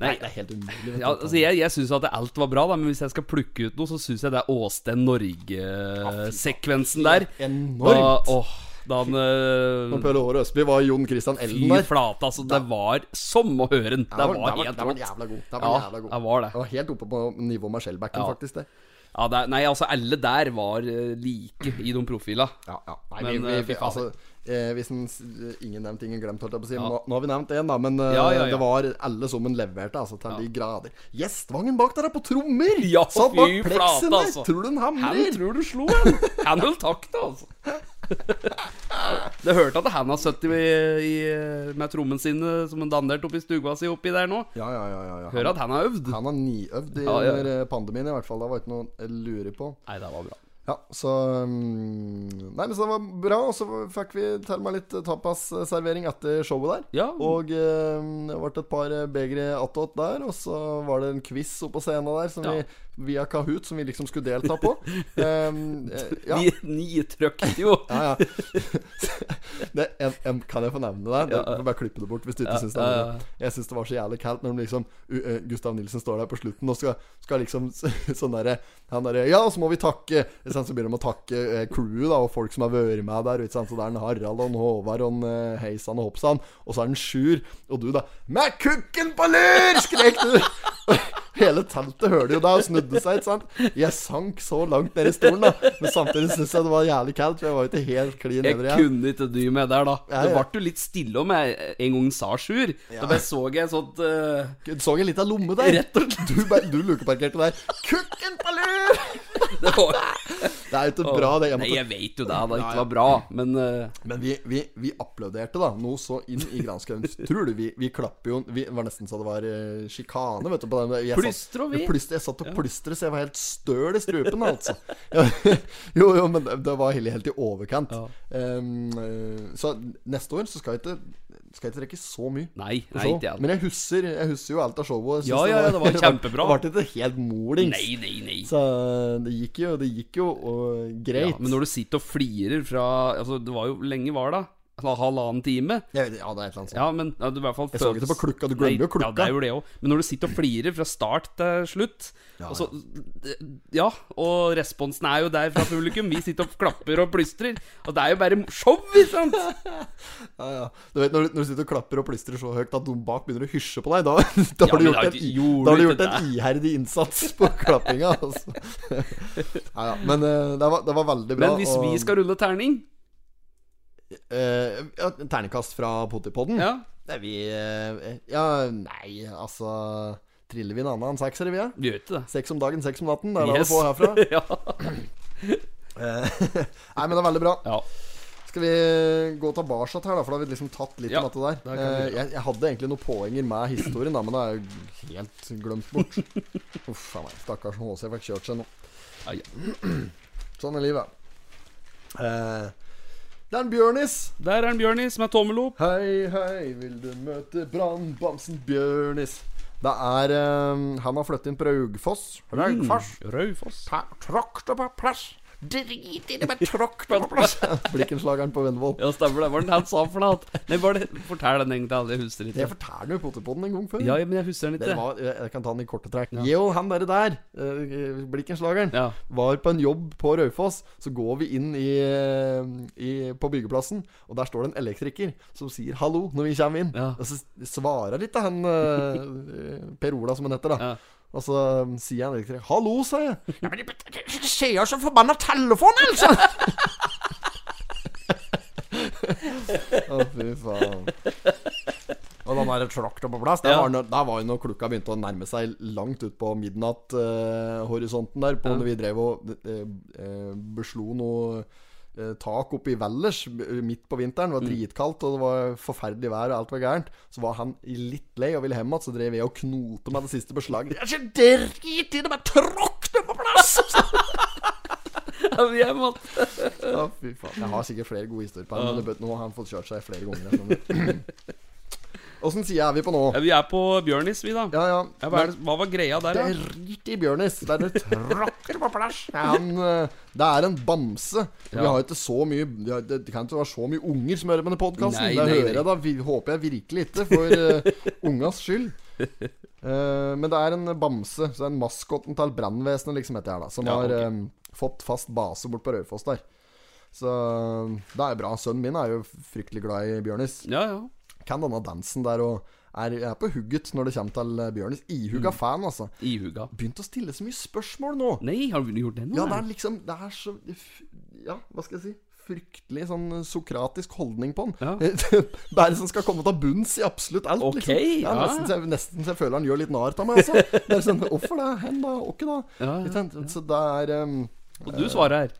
Speaker 5: Nei, det er helt umulig. vet
Speaker 6: Ja,
Speaker 5: du.
Speaker 6: altså jeg jeg syns at alt var bra, da, men hvis jeg skal plukke ut noe, så syns jeg det er Åsten Norge-sekvensen der. Da,
Speaker 5: Enormt!
Speaker 6: åh, da han
Speaker 5: Når
Speaker 6: øh,
Speaker 5: Pøle Aare Østby altså. var Jon Christian
Speaker 6: Fy
Speaker 5: Elden der.
Speaker 6: flate, altså. Det var som å høre den.
Speaker 5: Den
Speaker 6: Det var
Speaker 5: den den
Speaker 6: helt
Speaker 5: var
Speaker 6: rått.
Speaker 5: jævla god. Den var
Speaker 6: Ja,
Speaker 5: jævla god.
Speaker 6: den var det.
Speaker 5: Den var helt oppe på nivå med Shellbacken,
Speaker 6: Ja.
Speaker 5: faktisk. det
Speaker 6: Ja, det, er- nei, altså, alle der var øh, like i de profila.
Speaker 5: Ja, ja. Nei,
Speaker 6: Men,
Speaker 5: vi,
Speaker 6: eh,
Speaker 5: vi,
Speaker 6: fy faen.
Speaker 5: altså, eh, hvis en, s- ingen nevnt, ingen glemt, holdt jeg på å si.
Speaker 6: Ja.
Speaker 5: Nå, nå har vi nevnt én, da. Men eh,
Speaker 6: Ja, ja, ja.
Speaker 5: det var alle som en leverte, altså. Til de grader. Gjestvangen bak der er på trommer!
Speaker 6: Ja,
Speaker 5: Satt bak
Speaker 6: fy flate,
Speaker 5: pleksen der!
Speaker 6: altså.
Speaker 5: Tror du den
Speaker 6: Han
Speaker 5: hamrer?
Speaker 6: tror du slo han? Han holdt takta, altså. Det hørte at han har sittet i- i- med trommen sine som han danderte oppi stua si oppi der nå.
Speaker 5: Ja, ja, ja. ja, ja.
Speaker 6: Hører at han har øvd.
Speaker 5: Han har niøvd i
Speaker 6: Ja, ja, ja.
Speaker 5: under eh, pandemien, i hvert fall. Det var ikke noe jeg lurer på.
Speaker 6: Nei, det var bra.
Speaker 5: Ja, så mm, Nei, men så det var bra. Og så fikk vi til meg litt tapasservering etter showet der.
Speaker 6: Ja.
Speaker 5: Og eh, det ble et par begre attåt der. Og så var det en quiz oppå scenen der som
Speaker 6: Ja.
Speaker 5: vi, via Kahoot som vi liksom skulle delta på. Em, eh, ja.
Speaker 6: Ni, ni trøkt jo.
Speaker 5: Ja, ja. Det, en, en, kan jeg få nevne det? Du
Speaker 6: Ja, ja.
Speaker 5: får bare klippe det bort hvis du ikke
Speaker 6: Ja,
Speaker 5: syns det
Speaker 6: ja,
Speaker 5: er
Speaker 6: ja.
Speaker 5: moro. Jeg syns det var så jævlig kaldt når de liksom u- eh, Gustav Nilsen står der på slutten og skal, skal liksom s- sånn derre Han derre Ja, så må vi takke sånn, Så begynner de å takke eh, crewet da, og folk som har vært med der. Ikke sant? Så det er en Harald og en Håvard og en eh, Heisan og Hoppsan. Og så er det en Sjur. Og du, da Med kukken på lur! skrek du. Hele teltet hørte jo det og snudde seg. ikke sant? Jeg sank så langt ned i stolen, da. Men samtidig syns jeg det var jævlig kaldt, for jeg var jo ikke helt klin
Speaker 6: Jeg
Speaker 5: nedre. Jeg.
Speaker 6: kunne ikke dy meg der, da.
Speaker 5: Ja,
Speaker 6: Det
Speaker 5: ja.
Speaker 6: ble jo litt stille om jeg en gang sa sjur. Da bare så jeg sånt eh,
Speaker 5: Du så en liten lomme der.
Speaker 6: Rett og
Speaker 5: Du, bare- du lukeparkerte der. Kukken på lur!
Speaker 6: Det var
Speaker 5: Det er jo ikke bra, det. Jeg
Speaker 6: Nei,
Speaker 5: måtte
Speaker 6: jeg vet jo det, da ikke var bra, men eh,
Speaker 5: Men vi, vi, vi applauderte da noe så inn i granskauen. Tror du vi, vi klapper jo Vi var nesten så det var eh, sjikane, vet du. På den. Jeg satt-
Speaker 6: Plystre og vi.
Speaker 5: Plystre, jeg satt og plystre, så jeg var helt støl i strupen, altså. Ja, jo, jo, men det- det var helt, helt i overkant.
Speaker 6: Ja.
Speaker 5: Ehm, eh, så neste år så skal jeg ikke Skal jeg ikke rekke så mye.
Speaker 6: Nei, nei,
Speaker 5: Så,
Speaker 6: ikke jeg. altså.
Speaker 5: men jeg husker, jeg husker jo alt av showet. Jeg synes
Speaker 6: Ja, ja, ja, det var kjempebra.
Speaker 5: Det ble ikke helt molings.
Speaker 6: Nei, nei, nei.
Speaker 5: Så det gikk jo, det gikk jo og, greit.
Speaker 6: Ja, men når du sitter og flirer fra Altså, det var jo lenge var det. halvannen time.
Speaker 5: Jeg vet, ja, det er et eller annet sånt.
Speaker 6: Ja, men ja, du i hvert fall
Speaker 5: Jeg så ikke det på klukka, du glemmer jo klukka.
Speaker 6: Ja, det er jo det også. Men når du sitter og flirer fra start til slutt
Speaker 5: Ja,
Speaker 6: og så, ja, og responsen er jo der fra publikum. Vi sitter og klapper og plystrer. Og det er jo bare show, ikke sant?
Speaker 5: Ja, ja. Du vet, når du, når du sitter og klapper og plystrer så høyt at noen bak begynner å hysje på deg, da, da
Speaker 6: Ja,
Speaker 5: har du
Speaker 6: men
Speaker 5: gjort,
Speaker 6: da
Speaker 5: en, i-
Speaker 6: gjorde
Speaker 5: da har du
Speaker 6: du
Speaker 5: gjort
Speaker 6: ikke
Speaker 5: en iherdig innsats på klappinga. Altså. Ja, ja. Men eh, det, var, det var veldig bra.
Speaker 6: Men hvis vi skal rulle terning
Speaker 5: eh, ja, Ternekast fra Potipodden?
Speaker 6: Ja,
Speaker 5: Det er vi eh, Ja, nei, altså Triller vi en annen enn sekser, vi? er?
Speaker 6: vi gjør ikke det.
Speaker 5: Seks om dagen, seks om natten. Det er det
Speaker 6: Yes.
Speaker 5: du får herfra.
Speaker 6: ja.
Speaker 5: Eh, nei, men det er veldig bra.
Speaker 6: ja.
Speaker 5: Skal vi gå tilbake her, da? For da har vi liksom tatt litt
Speaker 6: Ja,
Speaker 5: om dette der.
Speaker 6: det kan vi
Speaker 5: Eh, jeg, jeg hadde egentlig noen poenger med historien, da, men det er jo helt glemt bort. Uff a meg. Stakkars HC fikk kjørt seg nå.
Speaker 6: Ai, ja.
Speaker 5: Sånn er livet. Eh, det er en Bjørnis.
Speaker 6: Der er en Bjørni som er tommel opp.
Speaker 5: Hei, hei, vil du møte brannbamsen Bjørnis? Det er eh, Han har flyttet inn på Raugfoss. Raugfoss.
Speaker 6: Mm, Raufoss.
Speaker 5: Tråkk det på plass. Drit i det med tråkk det på plass. Blikkenslageren på Vennvoll.
Speaker 6: Ja, stemmer det. Hva var det han sa for noe? annet? Nei, hva var det- Fortell den egentlig. Jeg husker
Speaker 5: Det
Speaker 6: ikke.
Speaker 5: fortalte du jo Potterpodden en gang før.
Speaker 6: Ja, ja, men jeg husker den
Speaker 5: Dere
Speaker 6: ikke.
Speaker 5: var, jeg jeg kan ta den i korte trekk. Jo, han derre der, eh, Blikkenslageren,
Speaker 6: Ja.
Speaker 5: var på en jobb på Raufoss. Så går vi inn i, eh, i, på byggeplassen, og der står det en elektriker som sier 'hallo' når vi kommer inn.
Speaker 6: Ja.
Speaker 5: Og så svarer ikke han eh, Per Ola, som han heter, da.
Speaker 6: Ja.
Speaker 5: Og så um, sier han elektriker 'hallo', sa jeg. Ja, men det skjer så forbanna telefon, altså! Å, fy faen. Og den der trakta på plass, der,
Speaker 6: Ja.
Speaker 5: var, den- der var jo når klokka begynte å nærme seg langt ut på midnatthorisonten der, på når vi drev og eh, eh, beslo noe eh, tak oppe i Valdres b- midt på vinteren. Det var dritkaldt, og det var forferdelig vær, og alt var gærent. Så var han litt lei og ville hjem igjen, så drev jeg og knote med det siste beslaget. Jeg er så drit i det, bare tråkk det på plass!
Speaker 6: Ja, vi er mat.
Speaker 5: Ja, fy faen. Jeg har sikkert flere gode historier på ham, men det bør- nå har han fått kjørt seg flere ganger. Åssen side er vi på nå?
Speaker 6: Ja, vi er på Bjørnis, vi, da.
Speaker 5: Ja, ja.
Speaker 6: Ja, hva, er det, hva var greia der, da?
Speaker 5: Drit i Bjørnis. Det er det tråkker på plass. Han, eh, det er en bamse. Vi
Speaker 6: Ja.
Speaker 5: har jo ikke så mye vi har- Det kan ikke være så mye unger som hører på denne podkasten.
Speaker 6: Nei,
Speaker 5: Det
Speaker 6: nei,
Speaker 5: hører jeg da. Vi, håper jeg virkelig ikke, for eh, ungas skyld. Eh, men det er en bamse. Så det er en maskotten til brannvesenet, liksom, heter jeg da. Som
Speaker 6: Ja,
Speaker 5: har
Speaker 6: ok.
Speaker 5: eh, fått fast base bort på Raufoss der. Så eh, det er bra. Sønnen min er jo fryktelig glad i Bjørnis
Speaker 6: Ja, ja.
Speaker 5: kan denne dansen der og er, er på hugget når det kommer til eh, Bjørnis.
Speaker 6: Mm.
Speaker 5: Ihuga fan, altså.
Speaker 6: Ihuga.
Speaker 5: Begynt å stille så mye spørsmål nå.
Speaker 6: Nei, har du gjort det nå?
Speaker 5: Ja, det
Speaker 6: nei?
Speaker 5: er liksom Det er så f- Ja, hva skal jeg si? Fryktelig sånn eh, sokratisk holdning på
Speaker 6: Ja.
Speaker 5: han. det er som skal komme til bunns i absolutt alt.
Speaker 6: Ok,
Speaker 5: liksom. ja,
Speaker 6: ja.
Speaker 5: Nesten, så jeg, nesten så jeg føler han gjør litt narr av meg, altså. Det er sånn, Hvorfor det? Hen da? Åkke da?
Speaker 6: Ja, ja,
Speaker 5: Ikke sant? Så det er ehm, em,
Speaker 6: Og du svarer her.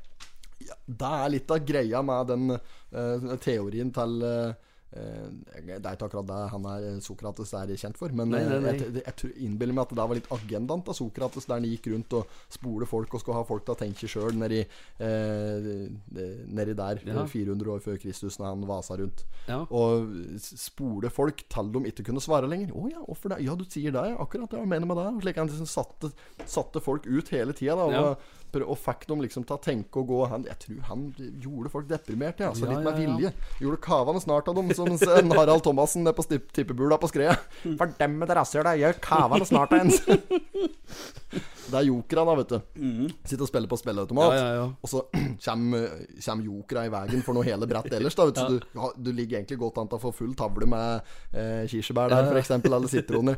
Speaker 5: det er litt av greia med den eh, teorien til eh, eh, Det er ikke akkurat det han er eh, Sokrates er kjent for, men
Speaker 6: Nei, nei, nei.
Speaker 5: eh, jeg, jeg, tror- innbiller meg at det var litt agendaen til Sokrates, der han gikk rundt og spole folk og skulle ha folk til å tenke sjøl nedi, eh, nedi der,
Speaker 6: Ja.
Speaker 5: 400 år før Kristus, når han vasa rundt.
Speaker 6: Ja.
Speaker 5: Og s- spole folk til de ikke kunne svare lenger. 'Å ja, hvorfor det? Ja, du sier det, ja. Akkurat det. Hva mener du med det?' Og Slik han liksom satte, satte folk ut hele tida, da. Og,
Speaker 6: Ja.
Speaker 5: prø- og fikk dem liksom til å tenke og gå. Han, jeg tror han gjorde folk deprimerte, ja. Altså
Speaker 6: Ja,
Speaker 5: litt med
Speaker 6: ja, ja.
Speaker 5: vilje. Gjorde kavene snart av dem, som s- en Harald Thomassen nede på stip- tippebula på skredet. Fordemme det rasshøl, jeg gjør kavene snart av ens. Det er jokera, da, vet du. Sitter og spiller på spilleautomat.
Speaker 6: Mm. Ja, ja, ja.
Speaker 5: Og så kommer, kommer jokera i veien for noe hele brett ellers. Da, vet du. Så du, ja, du ligger egentlig godt an til å få full tavle med eh, kirsebær der, f.eks., eller sitroner.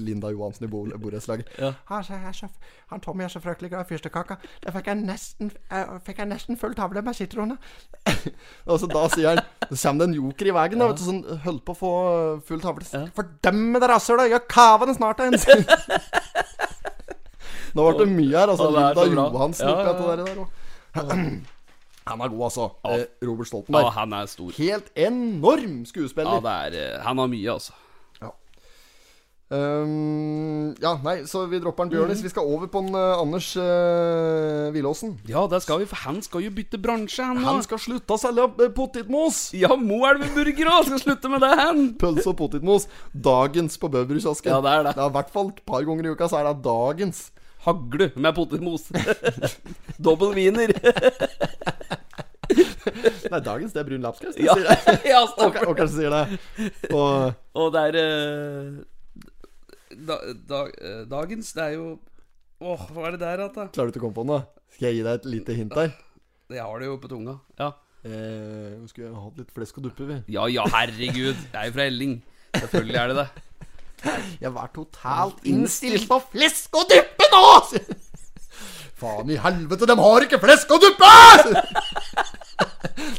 Speaker 5: Linda Johansen i bo- borettslaget. Altså, jeg er så- Han Tommy er så fryktelig glad i fyrstekaka. Da fikk jeg nesten, eh, fikk jeg nesten full tavle med sitroner. og så da sier han Så kommer det en joker i veien, da, vet du, sånn holdt på å få full tavle. Fordømme det rasshølet! Gjør kavene snart av ens! Nå ble det mye her, altså.
Speaker 6: Å, det er
Speaker 5: Linda
Speaker 6: så bra.
Speaker 5: Johansen
Speaker 6: Ja,
Speaker 5: oppi
Speaker 6: ja,
Speaker 5: dette
Speaker 6: ja.
Speaker 5: der, der også. Han er god, altså.
Speaker 6: Ja.
Speaker 5: Eh, Robert Stoltenberg.
Speaker 6: Ja, han er stor.
Speaker 5: Helt enorm skuespiller.
Speaker 6: Ja, det er, eh, han har mye, altså.
Speaker 5: Ehm, ja, nei, så vi dropper en Bjørnis.
Speaker 6: Mhm.
Speaker 5: Vi skal over på en eh, Anders uh, Villaasen.
Speaker 6: Ja, det skal vi, for han skal jo bytte bransje, han nå.
Speaker 5: Han skal slutte å selge eh, potetmos!
Speaker 6: Ja, Moelv-burger òg! Skal slutte med det, han!
Speaker 5: Pølse og potetmos. Dagens på Bøverudkiosken.
Speaker 6: Ja, det er det.
Speaker 5: Det er i hvert fall et par ganger i uka så er det dagens.
Speaker 6: Hagle med potetmos. Dobbel wiener.
Speaker 5: Det Nei, dagens det er brun lapskaus.
Speaker 6: Ja,
Speaker 5: det sier det.
Speaker 6: ja
Speaker 5: Og,
Speaker 6: stemmer.
Speaker 5: og kanskje sier det. Og
Speaker 6: Og det er eh, da, da, eh, Dagens, det er jo Åh, hva er det der igjen, da?
Speaker 5: klarer du ikke å komme på den, da? Skal jeg gi deg et lite hint her?
Speaker 6: Jeg har det jo på tunga. Ja,
Speaker 5: Eh, vi skulle hatt litt flesk og duppe, vi.
Speaker 6: ja, ja herregud. Det er jo fra Elling. Selvfølgelig er det det.
Speaker 5: Jeg var totalt innstilt på flesk og duppe nå! Faen i helvete, de har ikke flesk og duppe!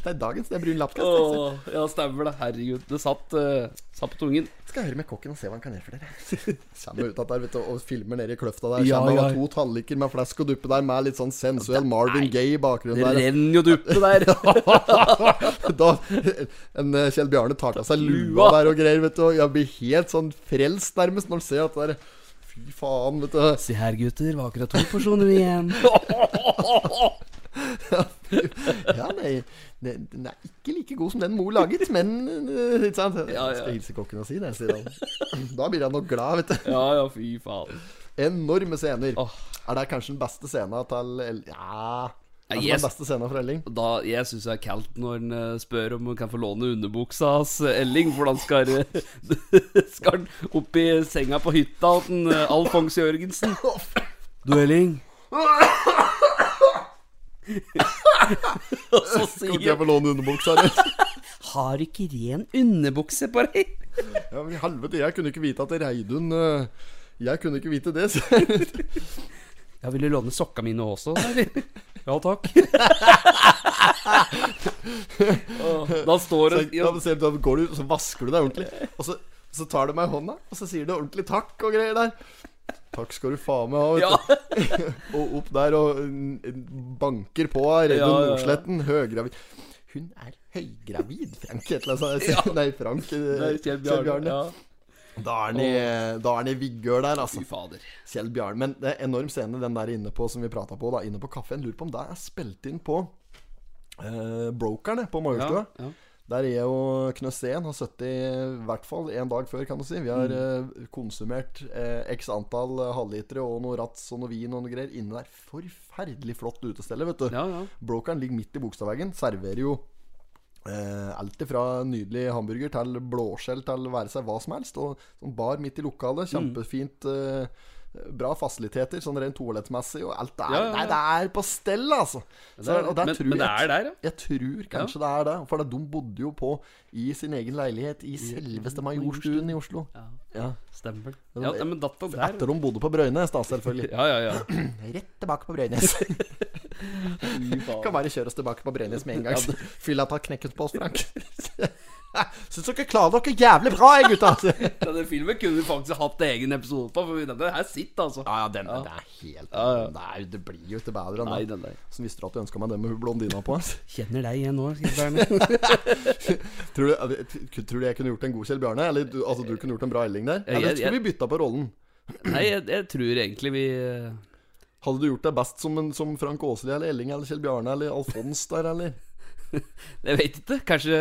Speaker 5: Det er dagens det er brun lapskaus.
Speaker 6: Åh, ja, stemmer det. Herregud. Det satt, eh, satt på tungen.
Speaker 5: Skal jeg høre med kokken og se hva han kan gjøre for dere. Kommer ut at der, vet du, og filmer nede i kløfta der.
Speaker 6: Ja,
Speaker 5: Kommer
Speaker 6: ja.
Speaker 5: ja, to talliker med flesk og duppe der, med litt sånn sensuell Marvin Gaye i bakgrunnen
Speaker 6: Det
Speaker 5: der.
Speaker 6: renner jo duppe der.
Speaker 5: da en eh, Kjell Bjarne tar av seg lua
Speaker 6: Lua.
Speaker 5: der og greier, vet du. Og jeg blir helt sånn frelst nærmest når han ser at det er Fy faen, vet du.
Speaker 6: Se her, gutter. Var akkurat to porsjoner igjen.
Speaker 5: Ja, nei, det, den er ikke like god som den mor laget, men eh, Ikke sant?
Speaker 6: Ja, ja.
Speaker 5: Jeg skal hilse kokken og si det, sier han. Da blir han nok glad, vet du.
Speaker 6: ja, ja, fy faen.
Speaker 5: Enorme scener.
Speaker 6: Åh.
Speaker 5: Er det kanskje den beste scena til El- Ja.
Speaker 6: Ja,
Speaker 5: Er det
Speaker 6: yes.
Speaker 5: den beste scena fra Elling?
Speaker 6: Da, jeg syns det er kaldt når han eh, spør om han kan få låne underbuksa hans, eh, Elling. For han skal, eh, skal han opp i senga på hytta til Alfons Jørgensen. Du, Elling. Og så
Speaker 5: Kan ikke
Speaker 6: sier
Speaker 5: jeg få låne underbuksa di?
Speaker 6: Har du ikke ren underbukse på deg?
Speaker 5: Ja, men i helvete, jeg kunne ikke vite at Reidun eh, Jeg kunne ikke vite det, sier jeg.
Speaker 6: Ja, vil du låne sokka mine også? ja takk. da står
Speaker 5: Så,
Speaker 6: det
Speaker 5: ja, men se, da går du, så vasker du deg ordentlig, og så, så tar du meg i hånda, og så sier du ordentlig takk og greier der. Takk skal du faen meg ha, vet
Speaker 6: Ja.
Speaker 5: du. Og opp der og mm, banker på av Redde
Speaker 6: Ja, ja, ja.
Speaker 5: Nordsletten, høygravid. Hun er høygravid, Frank. Et eller annet. sånt. Nei, Frank. eh,
Speaker 6: Nei, Kjell Bjarne. Ja.
Speaker 5: Da er han i- da er han i vigør der, altså.
Speaker 6: Fy fader.
Speaker 5: Kjell Bjarne. Men det er enorm scene, den der inne på som vi prata på, da, inne på kafeen. Lurer på om det er spilt inn på eh, brokerne på Majorstua.
Speaker 6: Ja, ja.
Speaker 5: Der er jo Knøsén har sittet i hvert fall en dag før, kan du si. Vi
Speaker 6: Mm.
Speaker 5: har eh, konsumert eh, x antall eh, halvlitere og noe rats og noe vin og noe greier inne der. Forferdelig flott utested, vet du.
Speaker 6: Ja, ja.
Speaker 5: Brokeren ligger midt i Bogstadveggen. Serverer jo eh, alt fra nydelig hamburger til blåskjell til være seg hva som helst. Og sånn bar midt i
Speaker 6: Mm.
Speaker 5: lokalet. Kjempefint. Eh, bra fasiliteter, sånn rent toalettmessig og alt. Det er,
Speaker 6: Ja, ja, ja.
Speaker 5: Nei, det er på stell, altså!
Speaker 6: Det er,
Speaker 5: Så- og der
Speaker 6: men,
Speaker 5: tror
Speaker 6: men det
Speaker 5: jeg-
Speaker 6: er der, ja.
Speaker 5: jeg tror kanskje det er det. For de bodde jo på i sin egen leilighet i selveste Majorstuen i Oslo.
Speaker 6: ja.
Speaker 5: Ja.
Speaker 6: Stemmer. Ja, nei, men datta der.
Speaker 5: Etter de bodde på Brøynes, da, selvfølgelig.
Speaker 6: Ja, ja, ja.
Speaker 5: Rett tilbake på Brøynes.
Speaker 6: Fy faen.
Speaker 5: kan bare kjøre oss tilbake på Brøynes med en gang. så Fylla tar knekken på oss, Frank. Syns dere klarer dere jævlig bra, jeg, gutta. Ja,
Speaker 6: Denne filmen kunne vi faktisk hatt egen episode på, for vi- denne her sitter, altså.
Speaker 5: ja, den, det er helt
Speaker 6: Ja, ja.
Speaker 5: Nei, det blir jo ikke bedre enn
Speaker 6: Nei,
Speaker 5: det.
Speaker 6: den der.
Speaker 5: Som visste du at du ønska meg det med hun blondina på? altså.
Speaker 6: Kjenner deg igjen nå, Kjell Bjarne.
Speaker 5: Tror du, eh, tror du jeg kunne gjort en god Kjell Bjarne? Eller du, altså, du kunne gjort en bra Elling der?
Speaker 6: Jeg-
Speaker 5: Eller
Speaker 6: jeg-
Speaker 5: skulle vi bytta på rollen?
Speaker 6: Nei, jeg, jeg tror egentlig vi eh,
Speaker 5: Hadde du gjort deg best som, en, som Frank Åsli eller Elling eller Kjell Bjarne eller Alfons der, eller?
Speaker 6: Jeg vet ikke. Kanskje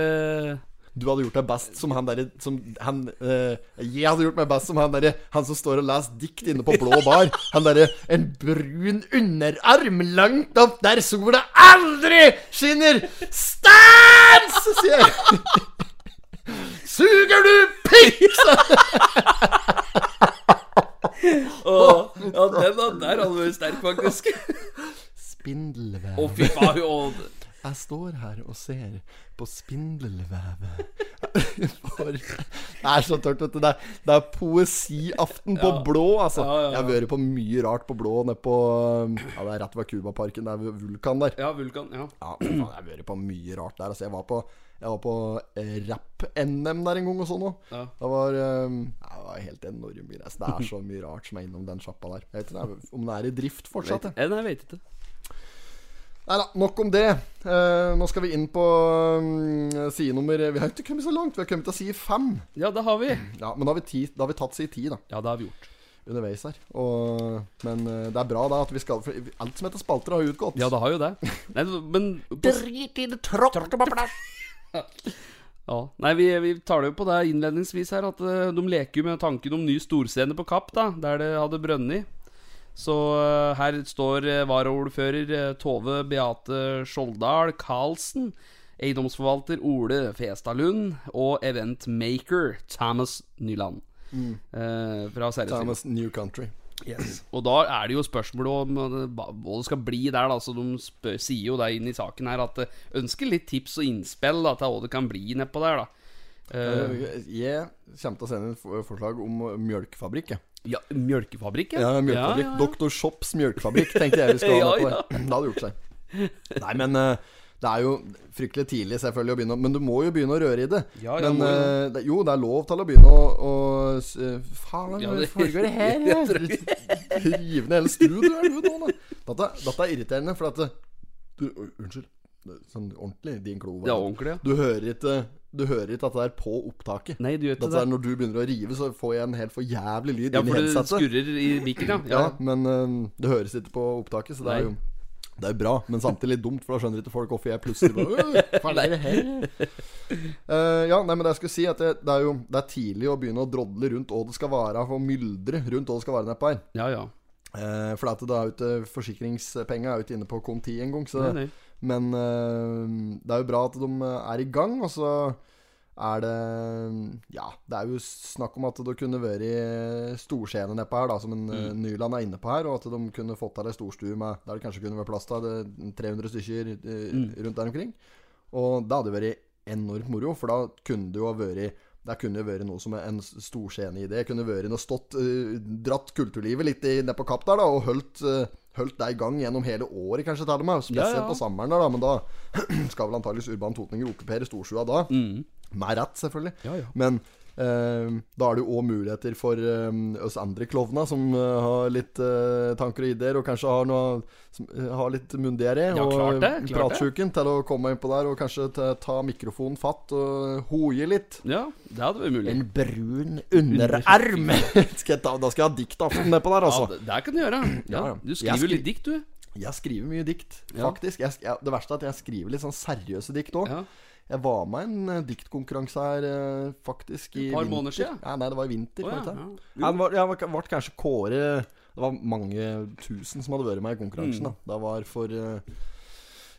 Speaker 5: Du hadde gjort deg best som han derre som han eh, Jeg hadde gjort meg best som han derre Han som står og leser dikt inne på blå bar. Han derre En brun underarm langt opp der sola aldri skinner. Stans! sier jeg. Suger du pikk?
Speaker 6: Åh, Ja, den da, der hadde vært sterk, faktisk. Å,
Speaker 5: Spindelvev.
Speaker 6: fy faen. å,
Speaker 5: Jeg står her og ser på spindelvevet For Det er så tørt, vet du. Det er, det er poesiaften på
Speaker 6: Ja.
Speaker 5: blå, altså.
Speaker 6: Ja, ja, ja.
Speaker 5: Jeg har vært på mye rart på blå nede på Ja, det er rett ved Cubaparken. Det er ved Vulkan der.
Speaker 6: Ja, Vulkan. Ja.
Speaker 5: Ja, men faen, jeg har vært på mye rart der. Altså, jeg var på jeg var på eh, rap-NM der en gang og sånn òg.
Speaker 6: Ja.
Speaker 5: Det var eh, Det var helt enorme greier. Altså, det er så mye rart som er innom den sjappa der. Jeg vet ikke om det er i drift fortsatt. jeg.
Speaker 6: Eh, Nei, jeg vet ikke.
Speaker 5: Nei da, nok om det. Eh, nå skal vi inn på um, sidenummer Vi har ikke kommet så langt. Vi har kommet til side fem.
Speaker 6: Ja, det har vi.
Speaker 5: Ja, men da har vi, ti, da har vi tatt side ti da,
Speaker 6: Ja, det har vi gjort.
Speaker 5: underveis her. Og, men eh, det er bra da at vi skal For alt som heter spalter, har jo utgått.
Speaker 6: Ja, det har jo det. Nei, men
Speaker 5: Drit i det trått
Speaker 6: ja. Nei, vi, vi tar det jo på det innledningsvis her, at eh, de leker jo med tanken om ny storscene på Kapp, da, der det hadde brønnet. Så eh, her står eh, varaordfører eh, Tove Beate Skjoldal Karlsen Eiendomsforvalter Ole Festad Lund og eventmaker Thomas Nyland. Eh, fra Serrestad.
Speaker 5: Thomas New Country.
Speaker 6: Og da er det jo spørsmålet om eh, hva hva det skal bli der, da. Så de spør, sier jo det inn i saken her at eh, ønsker litt tips og innspill da, til hva det kan bli nedpå der, da. Eh,
Speaker 5: Jeg kommer til å sende inn for- forslag om eh, mjølkefabrikk. jeg.
Speaker 6: ja, mjølkefabrikk,
Speaker 5: Ja, mjølkefabrikk.
Speaker 6: Ja, ja, ja.
Speaker 5: Dr. Shops mjølkefabrikk, tenkte jeg vi skulle ha
Speaker 6: Ja,
Speaker 5: med på det. Det hadde gjort seg. Nei, men eh, det er jo fryktelig tidlig selvfølgelig å begynne å- Men du må jo begynne å røre i det.
Speaker 6: Ja, ja,
Speaker 5: men
Speaker 6: må jo.
Speaker 5: eh, det, jo, det er lov til å begynne å, å s- eh, Faen,
Speaker 6: Ja,
Speaker 5: hva
Speaker 6: det-
Speaker 5: foregår det her?
Speaker 6: Jeg tror
Speaker 5: Rive ned hele studioet er du nå, da. Dette, dette er irriterende, for at det- du, oi, Unnskyld. Det er Sånn ordentlig din klo.
Speaker 6: Ja, ordentlig, ja.
Speaker 5: Du hører ikke Du hører ikke dette der på opptaket.
Speaker 6: Nei, du gjør ikke
Speaker 5: Dette er
Speaker 6: det.
Speaker 5: når du begynner å rive, så får jeg en helt for jævlig lyd
Speaker 6: Ja,
Speaker 5: inn i
Speaker 6: for det
Speaker 5: headsetet.
Speaker 6: skurrer i mikken, ja.
Speaker 5: Ja,
Speaker 6: ja.
Speaker 5: men eh, det høres ikke på opptaket, så det er
Speaker 6: Nei.
Speaker 5: jo det er jo bra, men samtidig litt dumt, for da skjønner ikke folk hvorfor jeg plutselig bare, «Øh, faen, er det her?» Eh, Ja, nei, men det jeg skulle si, at det, det er jo det er tidlig å begynne å drodle rundt hva det skal være, og myldre rundt hva det skal være nedpå her.
Speaker 6: Ja, ja.
Speaker 5: Eh, for at det er jo ikke forsikringspenger er jo ikke inne på konti engang, så
Speaker 6: Nei, nei.
Speaker 5: Men eh, det er jo bra at de er i gang, og så er det Ja, det er jo snakk om at det kunne vært storscene nedpå her, da, som
Speaker 6: Mm.
Speaker 5: en eh, Nyland er inne på her, og at de kunne fått til ei storstue med der det kanskje kunne vært plass til det- 300 stykker eh,
Speaker 6: Mm.
Speaker 5: rundt der omkring. Og det hadde jo vært enormt moro, for da kunne det jo ha vært det kunne jo vært noe som er en storscene i det. Det Kunne vært noe stått eh, Dratt kulturlivet litt i- ned på kapp der, da, og holdt, eh, holdt det i gang gjennom hele året, kanskje, til og med. Spesielt
Speaker 6: Ja, ja.
Speaker 5: på sommeren, der, da, men da skal vel antakeligvis Urban Totninger okkupere Storsjua da.
Speaker 6: Mm.
Speaker 5: Med rett, selvfølgelig.
Speaker 6: Ja, ja.
Speaker 5: Men eh, da er det jo òg muligheter for eh, oss andre klovner som eh, har litt eh, tanker og ideer, og kanskje har noe som, eh, Har litt mundere
Speaker 6: Ja, klart
Speaker 5: og
Speaker 6: det, klart det.
Speaker 5: pratsjuken til å komme innpå der og kanskje ta, ta mikrofonen fatt og eh, hoie litt.
Speaker 6: ja, det hadde vært mulig.
Speaker 5: En brun underarm! skal jeg ta, da skal jeg ha diktaften nedpå der,
Speaker 6: Ja,
Speaker 5: altså.
Speaker 6: det, det kan du gjøre. Ja,
Speaker 5: Ja, ja.
Speaker 6: du
Speaker 5: Jeg
Speaker 6: skriver jo
Speaker 5: skri-
Speaker 6: litt dikt, du.
Speaker 5: Jeg skriver mye dikt,
Speaker 6: Ja.
Speaker 5: faktisk. Jeg, sk- jeg, det verste er at jeg skriver litt sånn seriøse dikt òg.
Speaker 6: Ja.
Speaker 5: Jeg var med i en eh, diktkonkurranse her eh, faktisk i
Speaker 6: Et par
Speaker 5: vinter.
Speaker 6: måneder siden?
Speaker 5: Ja, nei, det var i vinter.
Speaker 6: Å, ja,
Speaker 5: var det ikke det?
Speaker 6: ja. Jo.
Speaker 5: Jeg var- Jeg ble kanskje kåre Det var mange tusen som hadde vært med i konkurransen.
Speaker 6: Mm.
Speaker 5: Da. Det var for eh,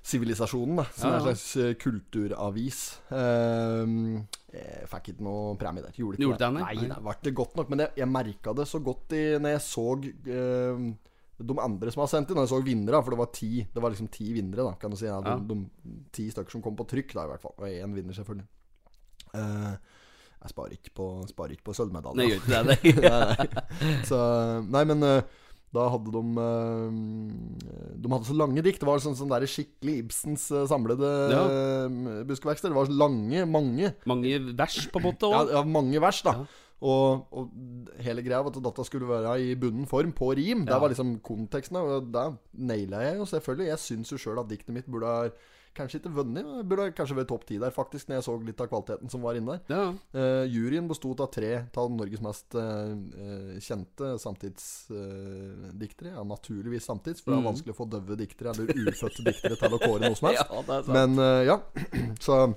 Speaker 5: Sivilisasjonen, da, som
Speaker 6: Ja,
Speaker 5: er
Speaker 6: ja.
Speaker 5: en slags eh, kulturavis. Ehm, jeg fikk ikke noe premie der. Gjorde ikke
Speaker 6: Gjorde det, nei?
Speaker 5: Nei,
Speaker 6: Nei.
Speaker 5: det ble ikke godt nok. Men jeg, jeg merka det så godt i, når jeg så eh, de andre som har sendt inn, når jeg så vinnere, for det var ti Det var liksom ti vinnere, da, kan du si. Ja, de,
Speaker 6: Ja.
Speaker 5: de, ti stykker som kom på trykk, da, i hvert fall. Og én vinner, selvfølgelig. Eh, jeg sparer ikke på, sparer ikke på sølvmedalje.
Speaker 6: Nei, gjør ikke det. nei.
Speaker 5: Nei, nei. Så, nei, men eh, da hadde de eh, De hadde så lange dikt. Det var sånn, sånn der skikkelig Ibsens eh, samlede
Speaker 6: Ja.
Speaker 5: eh, buskeverksted. Det var så lange, mange.
Speaker 6: Mange vers på en måte
Speaker 5: Ja,
Speaker 6: òg.
Speaker 5: ja, mange vers, da. Og, og hele greia var at dette skulle være i bunnen form, på rim. Det
Speaker 6: Ja.
Speaker 5: var liksom konteksten. Og det naila jeg jo selvfølgelig. Jeg syns jo sjøl at diktet mitt burde ha kanskje ikke vunnet. men Burde ha kanskje vært topp ti der, faktisk, når jeg så litt av kvaliteten som var inne der.
Speaker 6: Ja.
Speaker 5: Eh, juryen bestod av tre av Norges mest eh, eh, kjente samtidsdiktere. ja, naturligvis samtids, for det er vanskelig å få døve diktere eller ufødte diktere til å kåre noe som
Speaker 6: ja,
Speaker 5: helst.
Speaker 6: det er sant.
Speaker 5: Men eh, ja, så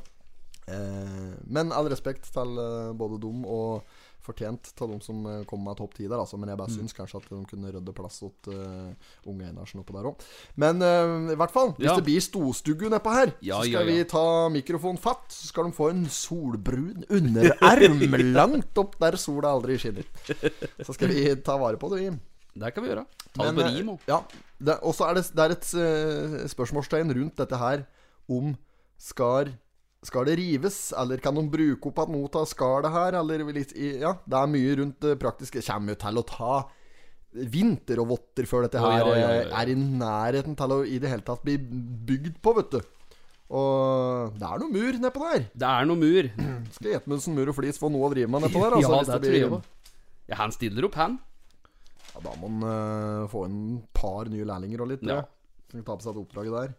Speaker 5: eh, Men all respekt til eh, både dem og fortjent til dem som eh, kom med topp ti der, altså. Men jeg bare
Speaker 6: Mm.
Speaker 5: syns kanskje at de kunne rydde plass åt eh, unge Einarsen oppå der òg. Men eh, i hvert fall, hvis
Speaker 6: Ja.
Speaker 5: det blir storstugu nedpå her,
Speaker 6: Ja,
Speaker 5: så skal
Speaker 6: ja, ja.
Speaker 5: vi ta mikrofonen fatt, så skal de få en solbrun underarm langt opp der sola aldri skinner. Så skal vi ta vare på det, vi.
Speaker 6: Det kan vi gjøre. Ta det på
Speaker 5: Men,
Speaker 6: rim òg.
Speaker 5: eh, Ja, det- og så er det, det er et eh, spørsmålstegn rundt dette her om skar skal det rives, eller kan de bruke opp at noe av skalet her, eller litt i- Ja, det er mye rundt det praktiske. Kommer jo til å ta vinter og votter før dette
Speaker 6: Å,
Speaker 5: her
Speaker 6: ja, ja, ja,
Speaker 5: eh,
Speaker 6: ja.
Speaker 5: er i nærheten til å i det hele tatt bli bygd på, vet du. Og det er noe mur nedpå der.
Speaker 6: Det er noe mur.
Speaker 5: Skal Gjetmundsen sånn Mur og Flis få noe å drive med nedpå der? Altså,
Speaker 6: ja,
Speaker 5: hvis
Speaker 6: det tror
Speaker 5: blir-
Speaker 6: jeg òg. Ja, han stiller opp, han.
Speaker 5: Ja, da må han eh, få inn et par nye lærlinger og litt, tror
Speaker 6: Ja.
Speaker 5: jeg. Som kan ta på seg det oppdraget der.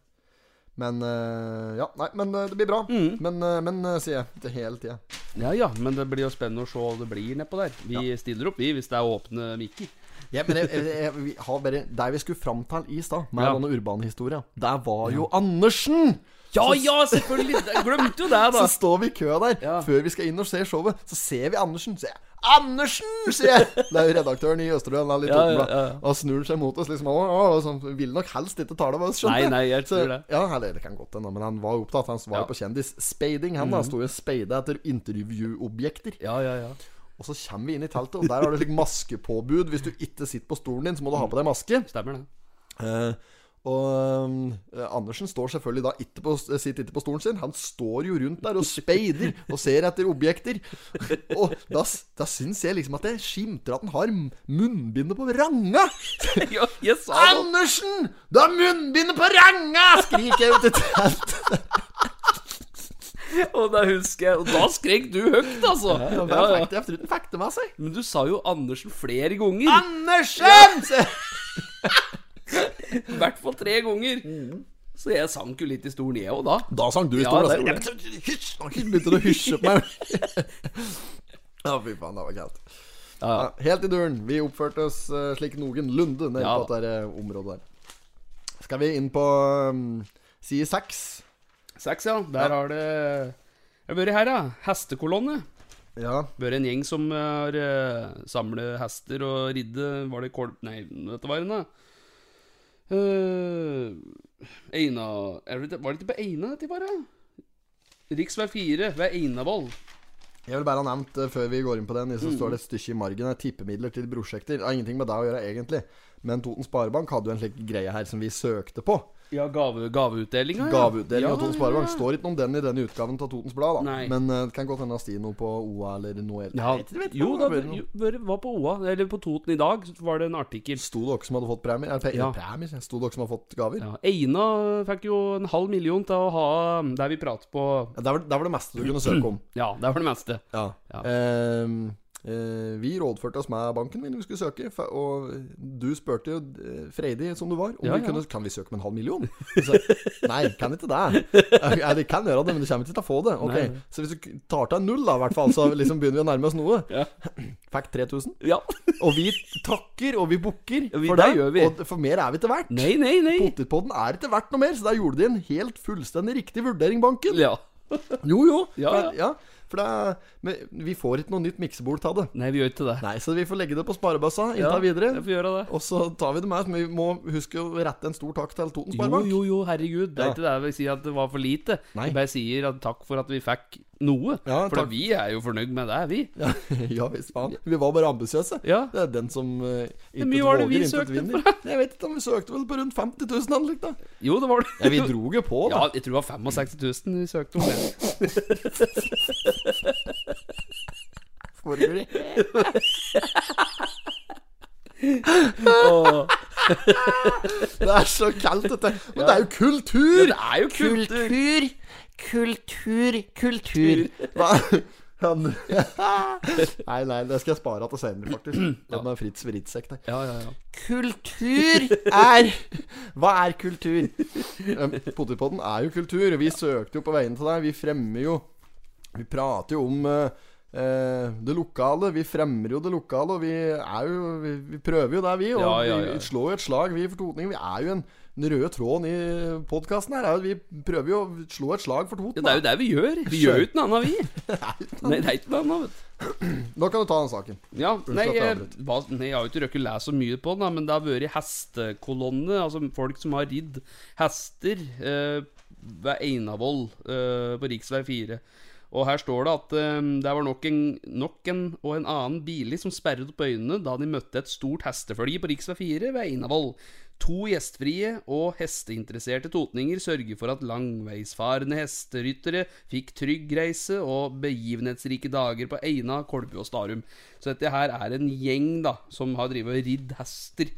Speaker 5: Men eh, Ja, nei, men eh, det blir bra. Men, eh, men eh, sier jeg til hele tida.
Speaker 6: Ja ja, men det blir jo spennende å se hva det blir nedpå der. Vi stiller opp, vi, hvis det er åpne mikker.
Speaker 5: Ja, men jeg, jeg, jeg, vi har bare Der vi skulle fram til i stad, med
Speaker 6: Ja.
Speaker 5: denne urbanhistoria, der var jo Andersen!
Speaker 6: Ja, ja, selvfølgelig! Jeg glemte jo det, da.
Speaker 5: Så står vi i kø der
Speaker 6: Ja.
Speaker 5: før vi skal inn og se showet. Så ser vi Andersen. Så jeg, Andersen! sier jeg. Det er jo redaktøren i Østerdølen. han er litt
Speaker 6: Ja, ja,
Speaker 5: åpenbar.
Speaker 6: ja, ja.
Speaker 5: Og snur han seg mot oss. liksom Og, og, og sånn, Ville nok helst ikke tale med oss, skjønte
Speaker 6: Nei, nei, jeg tror det.
Speaker 5: Ja, eller det kan godt hende, men han var opptatt. Han var
Speaker 6: Ja. Mm.
Speaker 5: jo på kjendisspeiding. Han da sto jo og speida etter intervjuobjekter.
Speaker 6: Ja, ja, ja.
Speaker 5: Og så kommer vi inn i teltet, og der har du slik maskepåbud. Hvis du ikke sitter på stolen din, så må du ha på deg maske.
Speaker 6: Stemmer det.
Speaker 5: Eh, og eh, Andersen står selvfølgelig da ikke på, sitter ikke på stolen sin. Han står jo rundt der og speider og ser etter objekter. Og da, s- da syns jeg liksom at det skimter at han har m- munnbindet på ranga!
Speaker 6: Ja, jeg sa det.
Speaker 5: Andersen! Du har munnbindet på ranga! skriker jeg ut i teltet.
Speaker 6: Og da husker jeg Og da skrek du høyt, altså.
Speaker 5: Ja,
Speaker 6: Ja,
Speaker 5: hvem
Speaker 6: ja.
Speaker 5: fikk det? Jeg tror den fikk det med seg.
Speaker 6: Men du sa jo Andersen flere ganger.
Speaker 5: Andersen!
Speaker 6: I hvert fall tre ganger. Så jeg sank jo litt i stolen, jeg òg, da.
Speaker 5: Da sang du i
Speaker 6: Ja,
Speaker 5: stolen. altså.
Speaker 6: det gjorde
Speaker 5: Ja, men så- hysj, nå Begynte du å hysje på meg? Ja, fy faen, det var kaldt.
Speaker 6: Ja, ja.
Speaker 5: Ja, helt i duren. Vi oppførte oss eh, slik noenlunde nede
Speaker 6: Ja
Speaker 5: på
Speaker 6: da.
Speaker 5: dette eh, området der. Skal vi inn på um, side seks?
Speaker 6: Seks, ja. Der har det Jeg har vært her, ja. Hestekolonne.
Speaker 5: Ja.
Speaker 6: Vært en gjeng som har eh, samlet hester og ridde Var det kolb... Nei, dette var en, da. Eh, Eina er det, Var det ikke på Eina, dette var, da? Riksvei 4 ved Einavoll.
Speaker 5: Jeg vil bare ha nevnt, eh, før vi går inn på den, så står det et stykke i margen her. Tippemidler til prosjekter. Det har ingenting med deg å gjøre, egentlig. Men Toten Sparebank hadde jo en slik greie her som vi søkte på.
Speaker 6: Ja, gave, gaveutdelinga. ja.
Speaker 5: Gaveutdeling
Speaker 6: Ja,
Speaker 5: av Toten Sparebank.
Speaker 6: ja.
Speaker 5: Står ikke noe om den i denne utgaven av Totens Blad, da.
Speaker 6: Nei.
Speaker 5: Men eh, det kan godt hende det står noe på OA eller noe helt
Speaker 6: Ja,
Speaker 5: Jeg vet ikke
Speaker 6: jo
Speaker 5: hva
Speaker 6: da,
Speaker 5: det var.
Speaker 6: jo, det var på OA, eller på Toten i dag, så var det en artikkel.
Speaker 5: Sto det dere som hadde fått premier? Eller,
Speaker 6: Ja.
Speaker 5: premier? sier jeg. Sto det dere som hadde fått gaver?
Speaker 6: Ja, Eina fikk jo en halv million til å ha um, der vi prater på
Speaker 5: Ja, der, var, der var det meste du kunne søke om.
Speaker 6: Ja, det er for det meste.
Speaker 5: Ja.
Speaker 6: Ja.
Speaker 5: Ehm, eh, vi rådførte oss med banken vi når vi skulle søke, fa- og du spurte jo eh, freidig som du var om
Speaker 6: Ja,
Speaker 5: vi
Speaker 6: ja.
Speaker 5: kunne Kan vi søke om en halv million. Så, nei, kan ikke det. Ja, vi kan gjøre det, men du kommer ikke til å få det. Ok,
Speaker 6: Nei, nei.
Speaker 5: Så hvis du k- tar til en null, da, i hvert fall, så liksom begynner vi å nærme oss noe.
Speaker 6: Ja.
Speaker 5: Fikk 3000.
Speaker 6: Ja.
Speaker 5: Og vi takker, og vi bukker
Speaker 6: Ja, vi-
Speaker 5: for
Speaker 6: det
Speaker 5: det.
Speaker 6: gjør vi.
Speaker 5: Og for mer er vi ikke verdt.
Speaker 6: Nei, nei, nei.
Speaker 5: Potetpodden er ikke verdt noe mer, så der gjorde de en helt fullstendig riktig vurdering, banken.
Speaker 6: Ja.
Speaker 5: Jo, jo.
Speaker 6: Ja,
Speaker 5: for, ja. for det er, men vi får ikke noe nytt miksebord av det.
Speaker 6: Nei, vi gjør ikke det.
Speaker 5: Nei, så vi får legge det på sparebøssa inntil
Speaker 6: Ja,
Speaker 5: videre.
Speaker 6: Jeg får gjøre det.
Speaker 5: Og så tar vi det med. Men vi må huske å rette en stor takk til Toten
Speaker 6: Jo,
Speaker 5: Sparebank.
Speaker 6: jo, jo, herregud. Det er
Speaker 5: Ja.
Speaker 6: ikke det jeg vil si at det var for lite.
Speaker 5: Nei.
Speaker 6: Jeg bare sier at takk for at vi fikk noe.
Speaker 5: Ja,
Speaker 6: for
Speaker 5: takk.
Speaker 6: vi er jo fornøyd med det, vi.
Speaker 5: Ja, ja visst faen. Vi var bare ambisiøse.
Speaker 6: Ja.
Speaker 5: Det er den som uh, intet
Speaker 6: mye var det
Speaker 5: våger,
Speaker 6: vi
Speaker 5: intet
Speaker 6: søkte
Speaker 5: vinner. Jeg vet ikke om vi søkte vel på rundt 50 000 eller noe da.
Speaker 6: Jo, det var det.
Speaker 5: Ja, vi dro jo på,
Speaker 6: Ja,
Speaker 5: da.
Speaker 6: jeg tror det var 65 000 vi søkte om. det.
Speaker 5: Foregår i.
Speaker 6: Åh.
Speaker 5: Det er så kaldt, dette. Men det er jo kultur!
Speaker 6: Det er jo kult.
Speaker 5: Kultur, kultur, kultur. Hva? Han Nei, nei, det skal jeg spare til senere, faktisk. La meg Fritz Vridsek der.
Speaker 6: Ja, ja, ja.
Speaker 5: Kultur er Hva er kultur? Um, Potetpodden er jo kultur. Vi søkte jo på veien til deg. Vi fremmer jo Vi prater jo om eh, eh, det lokale. Vi fremmer jo det lokale, og vi er jo Vi, vi prøver jo det, vi. Og
Speaker 6: Ja, ja, ja.
Speaker 5: vi slår jo et slag, vi for Totningen. Vi er jo en den røde tråden i podkasten her er jo at vi prøver jo å slå et slag for
Speaker 6: Ja,
Speaker 5: Toten.
Speaker 6: det er jo det vi gjør. Vi gjør jo ikke noe annet, vi. Nei, det er ikke noe annet. vet du.
Speaker 5: Nå kan du ta den saken.
Speaker 6: Ja, nei,
Speaker 5: at jeg
Speaker 6: eh,
Speaker 5: avbrøt.
Speaker 6: hva, nei, jeg har jo ikke røkket å lese så mye på den, da, men det har vært hestekolonne, altså folk som har ridd hester eh, ved Einavoll eh, på Riksvei 4. Og her står det at eh, det var nok en, nok en og en annen billig som sperret opp øynene da de møtte et stort hestefølge på Riksvei 4 ved Einavoll. To gjestfrie og hesteinteresserte totninger sørger for at langveisfarende hesteryttere fikk trygg reise og begivenhetsrike dager på Eina, Kolbu og Starum. Så dette her er en gjeng da, som har drevet og ridd hester.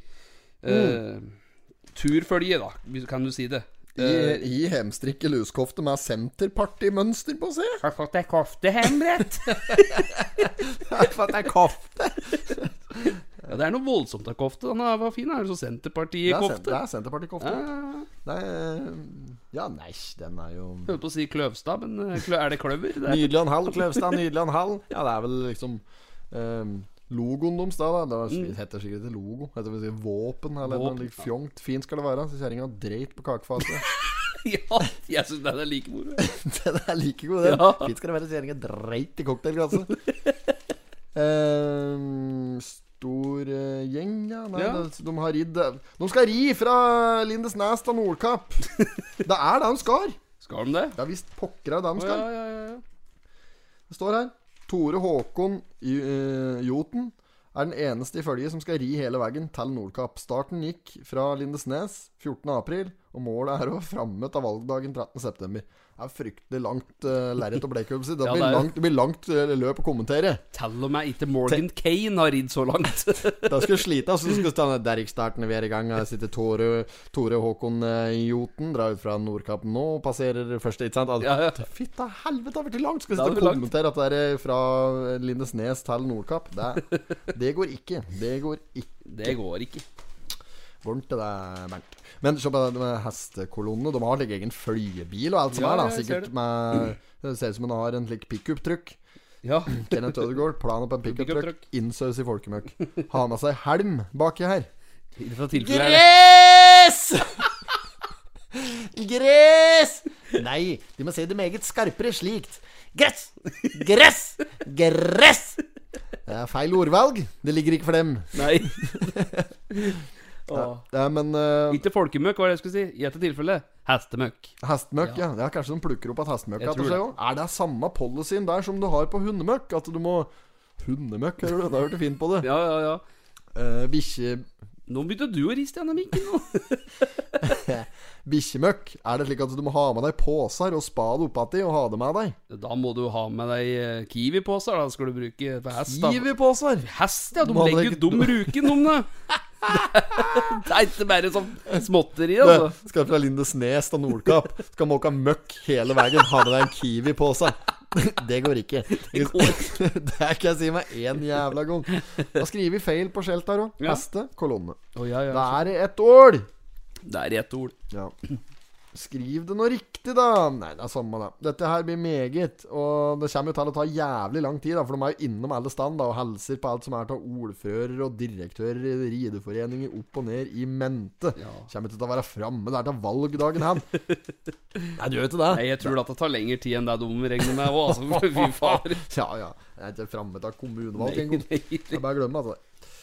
Speaker 6: Mm. Eh, turfølge, da, hvis- kan du si det. Eh,
Speaker 5: I, i hemstrikke luskofte med senterpartimønster på seg.
Speaker 6: Har fått deg koftehenbrett?
Speaker 5: For at det er kaffe.
Speaker 6: ja, det er noe voldsomt av kofte. Den er, hva fin er det,
Speaker 5: Det
Speaker 6: så
Speaker 5: er, sen- det
Speaker 6: Senterpartiet-kofte.
Speaker 5: er
Speaker 6: Ah.
Speaker 5: Senterparti-kofte.
Speaker 6: Ja,
Speaker 5: Det er, eh, ja, nei, den er jo
Speaker 6: jeg holdt på å si Kløvstad, men eh, klø- er det kløver? Det er
Speaker 5: Nydelig og en halv, Kløvstad. Nydelig og en halv. Ja, det er vel liksom ehm, logoen deres, da. da. Det var, heter sikkert ikke logo. Heter vel sikkert våpen eller
Speaker 6: Mm. Våpen,
Speaker 5: noe like, fjongt. Fint skal det være. Så kjerringa dreit på kakefatet.
Speaker 6: ja, jeg syns den er like moro.
Speaker 5: Den er like god, den.
Speaker 6: Ja.
Speaker 5: Fint skal det være, sier Inge. Dreit i cocktailglasset. Ehm, stor eh, gjeng, ja. Nei,
Speaker 6: Ja.
Speaker 5: det- de har ridd eh, De skal ri fra Lindesnes til Nordkapp. det er det de skal.
Speaker 6: Skal de det?
Speaker 5: Det er visst pokker er det de
Speaker 6: Å,
Speaker 5: skal.
Speaker 6: ja, ja, ja, ja.
Speaker 5: Det står her. Tore Håkon J- eh, Joten er den eneste i følget som skal ri hele veien til Nordkapp. Starten gikk fra Lindesnes 14.4, og målet er å framme til valgdagen 13.9. Det er fryktelig langt uh, lerret og blekkubb. Det,
Speaker 6: Ja,
Speaker 5: blir
Speaker 6: det er jo-
Speaker 5: langt- det blir langt eh, løp å kommentere.
Speaker 6: Tell om jeg ikke Morgan Kane har ridd så langt.
Speaker 5: Da skulle jeg slite. Altså, skulle stå der gikk starten, vi er i gang. Her sitter Tore, Tore Håkon eh, Joten, drar ut fra Nordkapp nå og passerer første, ikke sant? Altså,
Speaker 6: ja, ja.
Speaker 5: Fitta helvete, det har blitt langt! Skal
Speaker 6: Det
Speaker 5: vi
Speaker 6: har
Speaker 5: sitte
Speaker 6: blitt
Speaker 5: og
Speaker 6: langt.
Speaker 5: kommentere at det er fra Lindesnes til Nordkapp? Det, det går ikke. Det går ikke
Speaker 6: Det går ikke.
Speaker 5: varmt til deg, Bernt. Men se på de hestekolonnene. De har like egen flyebil og alt som
Speaker 6: Ja,
Speaker 5: er, da.
Speaker 6: ja, jeg ser
Speaker 5: Sikkert
Speaker 6: det.
Speaker 5: med Det ser ut som en har en slik pickup-truck.
Speaker 6: Ja.
Speaker 5: Kenneth Ødegaard, plan opp en pickup-truck,
Speaker 6: Pickup-truck.
Speaker 5: innsaus i folkemøkk. Ha med seg helm baki her.
Speaker 6: I dette tilfellet er det
Speaker 5: Gress! Gress! Nei, de må se det meget skarpere slikt. Gress! Gress! Gress! Det er feil ordvalg. Det ligger ikke for dem.
Speaker 6: Nei. Åh.
Speaker 5: Ja, men eh,
Speaker 6: Ikke folkemøkk, var det jeg skulle si. I dette tilfellet hestemøkk.
Speaker 5: hestemøkk, ja. ja. Kanskje de plukker opp at hestemøkk
Speaker 6: Jeg
Speaker 5: etter
Speaker 6: tror
Speaker 5: seg
Speaker 6: det.
Speaker 5: òg? Er det samme policyen der som du har på hundemøkk? At du må Hundemøkk, hører du? Da hørte du fint på det.
Speaker 6: Ja, ja, ja.
Speaker 5: Eh, bikkje-
Speaker 6: Nå begynte du å riste gjennom mikken. nå.
Speaker 5: Bikkjemøkk. Er det slik at du må ha med deg poser og spade oppatti og ha det med deg?
Speaker 6: Da må du ha med deg eh, kiwiposer. Da skal du bruke på hest. da.
Speaker 5: Kiwi-poser!
Speaker 6: Hest, ja. De
Speaker 5: Må
Speaker 6: legger
Speaker 5: legge-
Speaker 6: jo dum ruken om det. Det er ikke bare sånn småtteri,
Speaker 5: Det,
Speaker 6: altså.
Speaker 5: skal fra Lindesnes til Nordkapp. Skal måke møkk hele veien. Har med deg en kiwi på seg. Det går ikke. Det kan jeg si meg én jævla gang. Da skriver vi feil på skjelt her òg.
Speaker 6: Ja.
Speaker 5: Heste, kolonne.
Speaker 6: Å, ja, ja.
Speaker 5: Da er det ett ål!
Speaker 6: Det er ett ord.
Speaker 5: Ja. Skriv det nå riktig, da. Nei, det er samme, da. Dette her blir meget. Og det kommer jo til å ta jævlig lang tid, da, for de er jo innom alle stand da, og hilser på alt som er av ordfører og direktører i rideforeninger opp og ned i mente.
Speaker 6: Ja.
Speaker 5: Kommer til å være framme der til valgdagen hen. Nei, du gjør ikke det.
Speaker 6: Nei, jeg tror at det tar lengre tid enn det de regner med òg, altså. Fy fader.
Speaker 5: Ja, ja. Jeg er ikke framme til kommunevalg
Speaker 6: Nei,
Speaker 5: engang.
Speaker 6: nei,
Speaker 5: Det er bare å glemme, altså.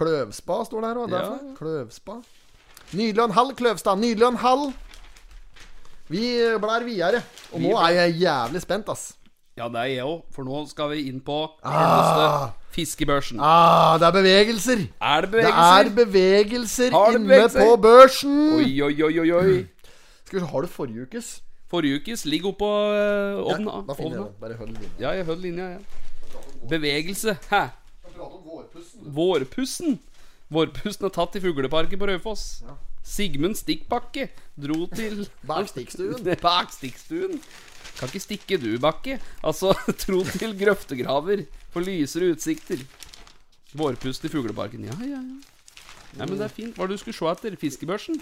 Speaker 5: Kløvspa står det her òg.
Speaker 6: Ja.
Speaker 5: Kløvspa. Nydelig og en halv, Kløvstad. Nydelig og en halv. Vi blær videre. Og nå er jeg jævlig spent, ass.
Speaker 6: Ja, det er jeg òg, for nå skal vi inn på ah. fiskebørsen.
Speaker 5: Ah, det er bevegelser.
Speaker 6: Er det
Speaker 5: Det er
Speaker 6: bevegelser?
Speaker 5: bevegelser
Speaker 6: Har det
Speaker 5: inne
Speaker 6: bevegelser?
Speaker 5: på børsen.
Speaker 6: Oi, oi, oi, oi, oi.
Speaker 5: Skal vi se, Har du forrige ukes?
Speaker 6: Forrige ukes ligger oppå uh,
Speaker 5: Ja,
Speaker 6: ovna.
Speaker 5: da finner jeg
Speaker 6: ovna.
Speaker 5: den. Bare hold linja.
Speaker 6: Ja, jeg holder linja, jeg. Bevegelse. Hæ?
Speaker 5: Skal prate om vårpussen.
Speaker 6: Vårpussen. Vårpussen er tatt i fugleparken på Raufoss. Sigmund Stikkbakke dro til
Speaker 5: Bak stikkstuen.
Speaker 6: Bak stikkstuen. Kan ikke stikke du, Bakke. Altså, tro til grøftegraver for lysere utsikter. Vårpust i fugleparken. Ja, ja, ja. Nei, men det er fint. Hva er det du skulle se etter? Fiskebørsen?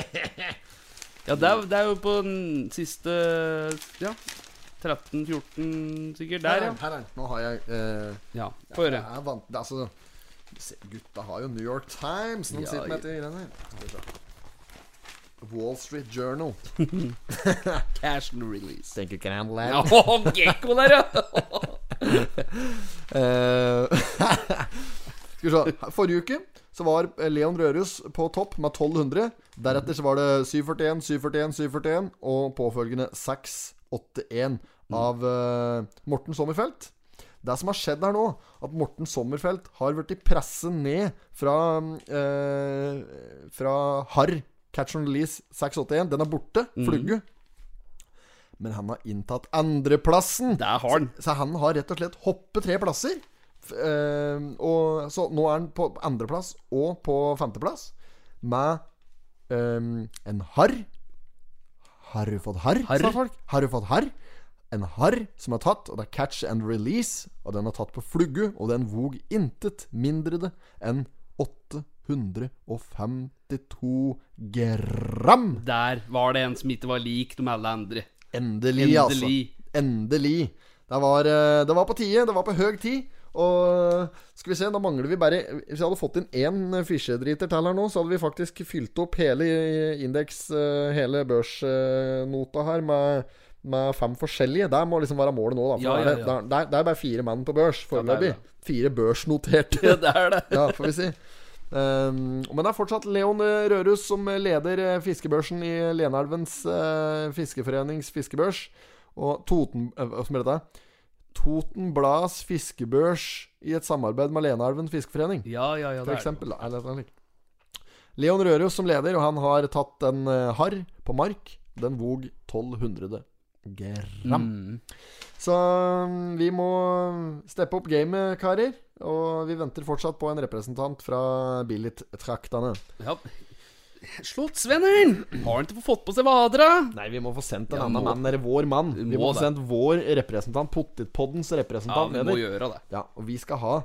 Speaker 6: Ja, det er, det er jo på den siste Ja, 13-14 sikkert.
Speaker 5: Her er
Speaker 6: Der,
Speaker 5: den.
Speaker 6: ja.
Speaker 5: her er den. Nå har jeg eh,
Speaker 6: Ja, Få høre.
Speaker 5: Jeg er vant det, er altså, se, Gutta har jo New York Times når de
Speaker 6: Ja,
Speaker 5: sitter med
Speaker 6: ja.
Speaker 5: dette greiene her. Skal vi se. Wall Street Journal.
Speaker 6: Cash and release.
Speaker 5: Thank you, can
Speaker 6: Ja, å, Gekko der, ja!
Speaker 5: Eh, Skal vi se. Forrige uke så var Leon Rørus på topp med 1200. Deretter så var det 741, 741, 741 og påfølgende 681 av eh, Morten Sommerfelt. Det som har skjedd her nå, at Morten Sommerfelt har blitt presset ned fra eh, Fra Harr Catch and Release 681. Den er borte. Flugge. Men han har inntatt andreplassen.
Speaker 6: Der har han.
Speaker 5: Så han har rett og slett hoppet tre plasser. F- eh, og, så nå er han på andreplass og på femteplass med eh, en harr. Har du fått harr,
Speaker 6: Harr?
Speaker 5: sa folk. Har du fått harr? En harr som er tatt, og det er catch and release. Og den er tatt på flugge, og den vog intet mindre det enn 852 gram.
Speaker 6: Der var det en som ikke var lik de alle andre.
Speaker 5: Endelig,
Speaker 6: Endelig.
Speaker 5: altså. Endelig. Det var, eh, det var på tide. Det var på høg tid. Og skal vi se, da mangler vi bare Hvis jeg hadde fått inn én fisjedriter til her nå, så hadde vi faktisk fylt opp hele indeks, eh, hele børsnota her, med, med fem forskjellige. Det må liksom være målet nå, da. For
Speaker 6: Ja, ja,
Speaker 5: da er det-
Speaker 6: ja.
Speaker 5: da er- Det, er, det er bare fire mann på børs
Speaker 6: Ja, det er
Speaker 5: foreløpig.
Speaker 6: det.
Speaker 5: Fire børsnoterte.
Speaker 6: det er det.
Speaker 5: Ja, får vi si. Ehm, men det er fortsatt Leon eh, Rørus som leder eh, fiskebørsen i Lenelvens eh, fiskeforenings fiskebørs. Og Toten eh, Hva som er dette? Toten Blads fiskebørs i et samarbeid med Lenelven fiskeforening.
Speaker 6: Ja, ja, ja.
Speaker 5: For
Speaker 6: Det er det.
Speaker 5: eksempel. da. Eller, eller, eller. Leon Rørus som leder, og han har tatt en eh, harr på mark. Den vog 1200 gram.
Speaker 6: Mm.
Speaker 5: Så mm, vi må steppe opp gamet, karer. Og vi venter fortsatt på en representant fra Billit-traktene.
Speaker 6: Ja. Slått, Svenneren! Har han ikke fått på seg vadra?
Speaker 5: Nei, vi må få sendt en
Speaker 6: Ja,
Speaker 5: annen
Speaker 6: må-
Speaker 5: mann, eller vår mann.
Speaker 6: Vi
Speaker 5: Vi må
Speaker 6: må
Speaker 5: få
Speaker 6: det.
Speaker 5: sendt vår representant, Pottitpoddens
Speaker 6: Ja,
Speaker 5: representant,
Speaker 6: vi må
Speaker 5: neder.
Speaker 6: gjøre det.
Speaker 5: Ja, og vi skal ha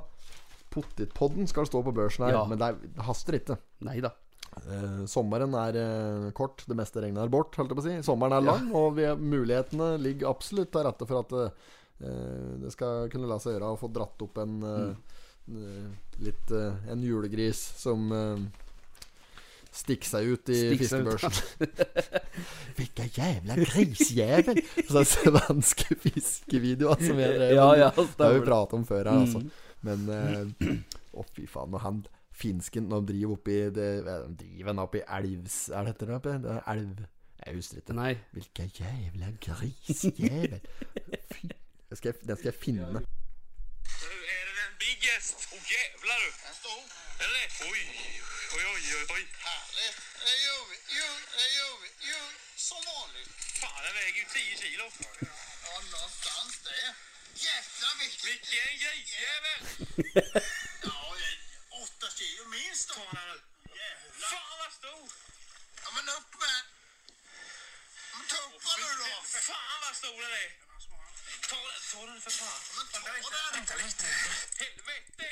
Speaker 5: Pottitpodden skal stå på børsen her,
Speaker 6: Ja.
Speaker 5: men det, er, det haster ikke.
Speaker 6: Nei da.
Speaker 5: Eh, sommeren er eh, kort, det meste regnet er bort, holdt jeg på å si. Sommeren er lang, og vi, mulighetene ligger absolutt til rette for at eh, det skal kunne la seg gjøre å få dratt opp en eh,
Speaker 6: Mm.
Speaker 5: eh, litt eh, en julegris som eh, stikker seg ut i
Speaker 6: Stikker seg ut.
Speaker 5: fiskebørsen. Hvilken jævla grisjævel! Sånn svenske fiskevideoer som jeg drev
Speaker 6: Ja,
Speaker 5: med.
Speaker 6: ja,
Speaker 5: Det har vi
Speaker 6: stemmer.
Speaker 5: pratet om før her, altså. Men eh, Å, fy faen. Når han finsken Når han driver oppi det, hva er det han Driver han oppi elvs... Er det dette det heter? Det er Elv? Jeg husker ikke.
Speaker 6: Nei.
Speaker 5: Hvilken jævla grisjævel. Fy det skal, jeg, det skal jeg finne.
Speaker 3: Du, är det den biggest? Åh jävlar du! Den stor. Är det det? Oj, oj, oj, oj, oj. Härligt. Det gör vi, jo, det gör vi, jo, som vanligt. Fan, den väger ju 10 kilo. Ja, någonstans det. Jävlar vilken... Vilken grisjävel! ja, det är 8 kilo minst då. Jävlar. Fan vad stor! Ja, men upp med... Men ta upp den nu då. Fan vad stor den är. Ta den, ta den för fan. Men ta den. Vänta lite. Helvete!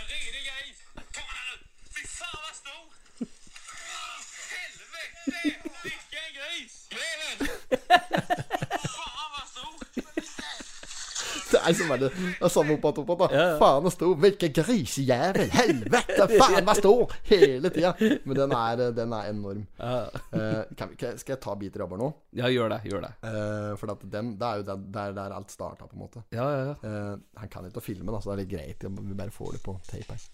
Speaker 3: En redig grej. Ta den nu. Fy fan vad stor. Helvete! Vilken gris! Greven! Fan vad stor!
Speaker 5: Det er som er det, det er samme opp og opp da. Faen og stor. Hvilken grisejævel! Helvete! Faen meg stor! Hele tida. Men den er, den er enorm. Eh, kan vi, kan, skal jeg ta biter rabber nå?
Speaker 6: Ja, gjør det. Gjør det.
Speaker 5: Eh, for at den, det er jo der, der, der alt starta, på en måte.
Speaker 6: Ja, ja, ja.
Speaker 5: Eh, han kan ikke å filme, da, så det er litt greit. Vi bare får det på tape her.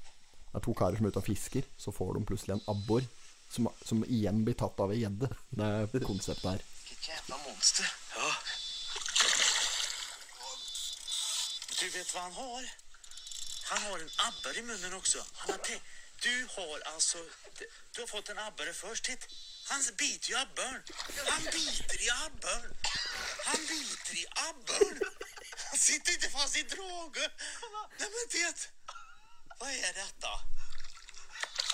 Speaker 5: Det er to karer som er ute og fisker, så får de plutselig en abbor. Som, som igjen blir tatt av ei gjedde. Det er konseptet her.
Speaker 3: Vilket jävla monster. Ja. Du vet vad han har? Han har en abbor i munnen också. Han har te- du har alltså... Du har fått en abborre först. Titt. Han biter i abborren. Han biter i abborren. Han biter i abborren. Han sitter inte fast i drage. Nej men det... Vad är detta?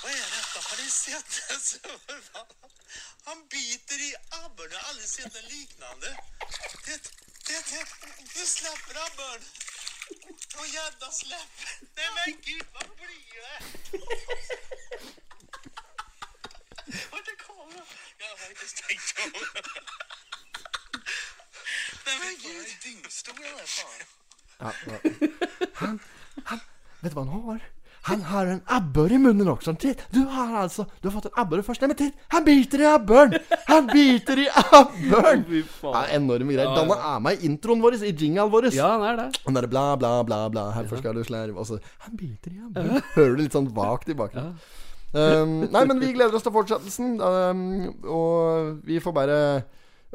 Speaker 3: Vad är detta? Har ni sett en surva? Han biter i abborren. Jag har aldrig sett en liknande. Det, det, det, nu släpper abborren. Och gäddan släpper. Nej men gud, vad blir det? Vart är kameran? Jag har inte stängt av. Nej men gud. Det är dyngstor den här fan.
Speaker 5: Ja, ja. Han, han Vet du hva han har? Han har en abbor i munnen også. sånn, Titt! Du har altså Du har fått en abbor først. Nei, men titt! Han biter i abboren! Han biter i abboren!
Speaker 6: Fy
Speaker 5: Det
Speaker 6: faen.
Speaker 5: er enorme greier. Danne er med i introen vår, i jingalen vår.
Speaker 6: Ja, han er det.
Speaker 5: Han derre bla, bla, bla, bla Her skal du slerv Og så Han biter igjen Hører du litt sånn vagt i bakgrunnen um, Nei, men vi gleder oss til fortsettelsen um, Og vi får bare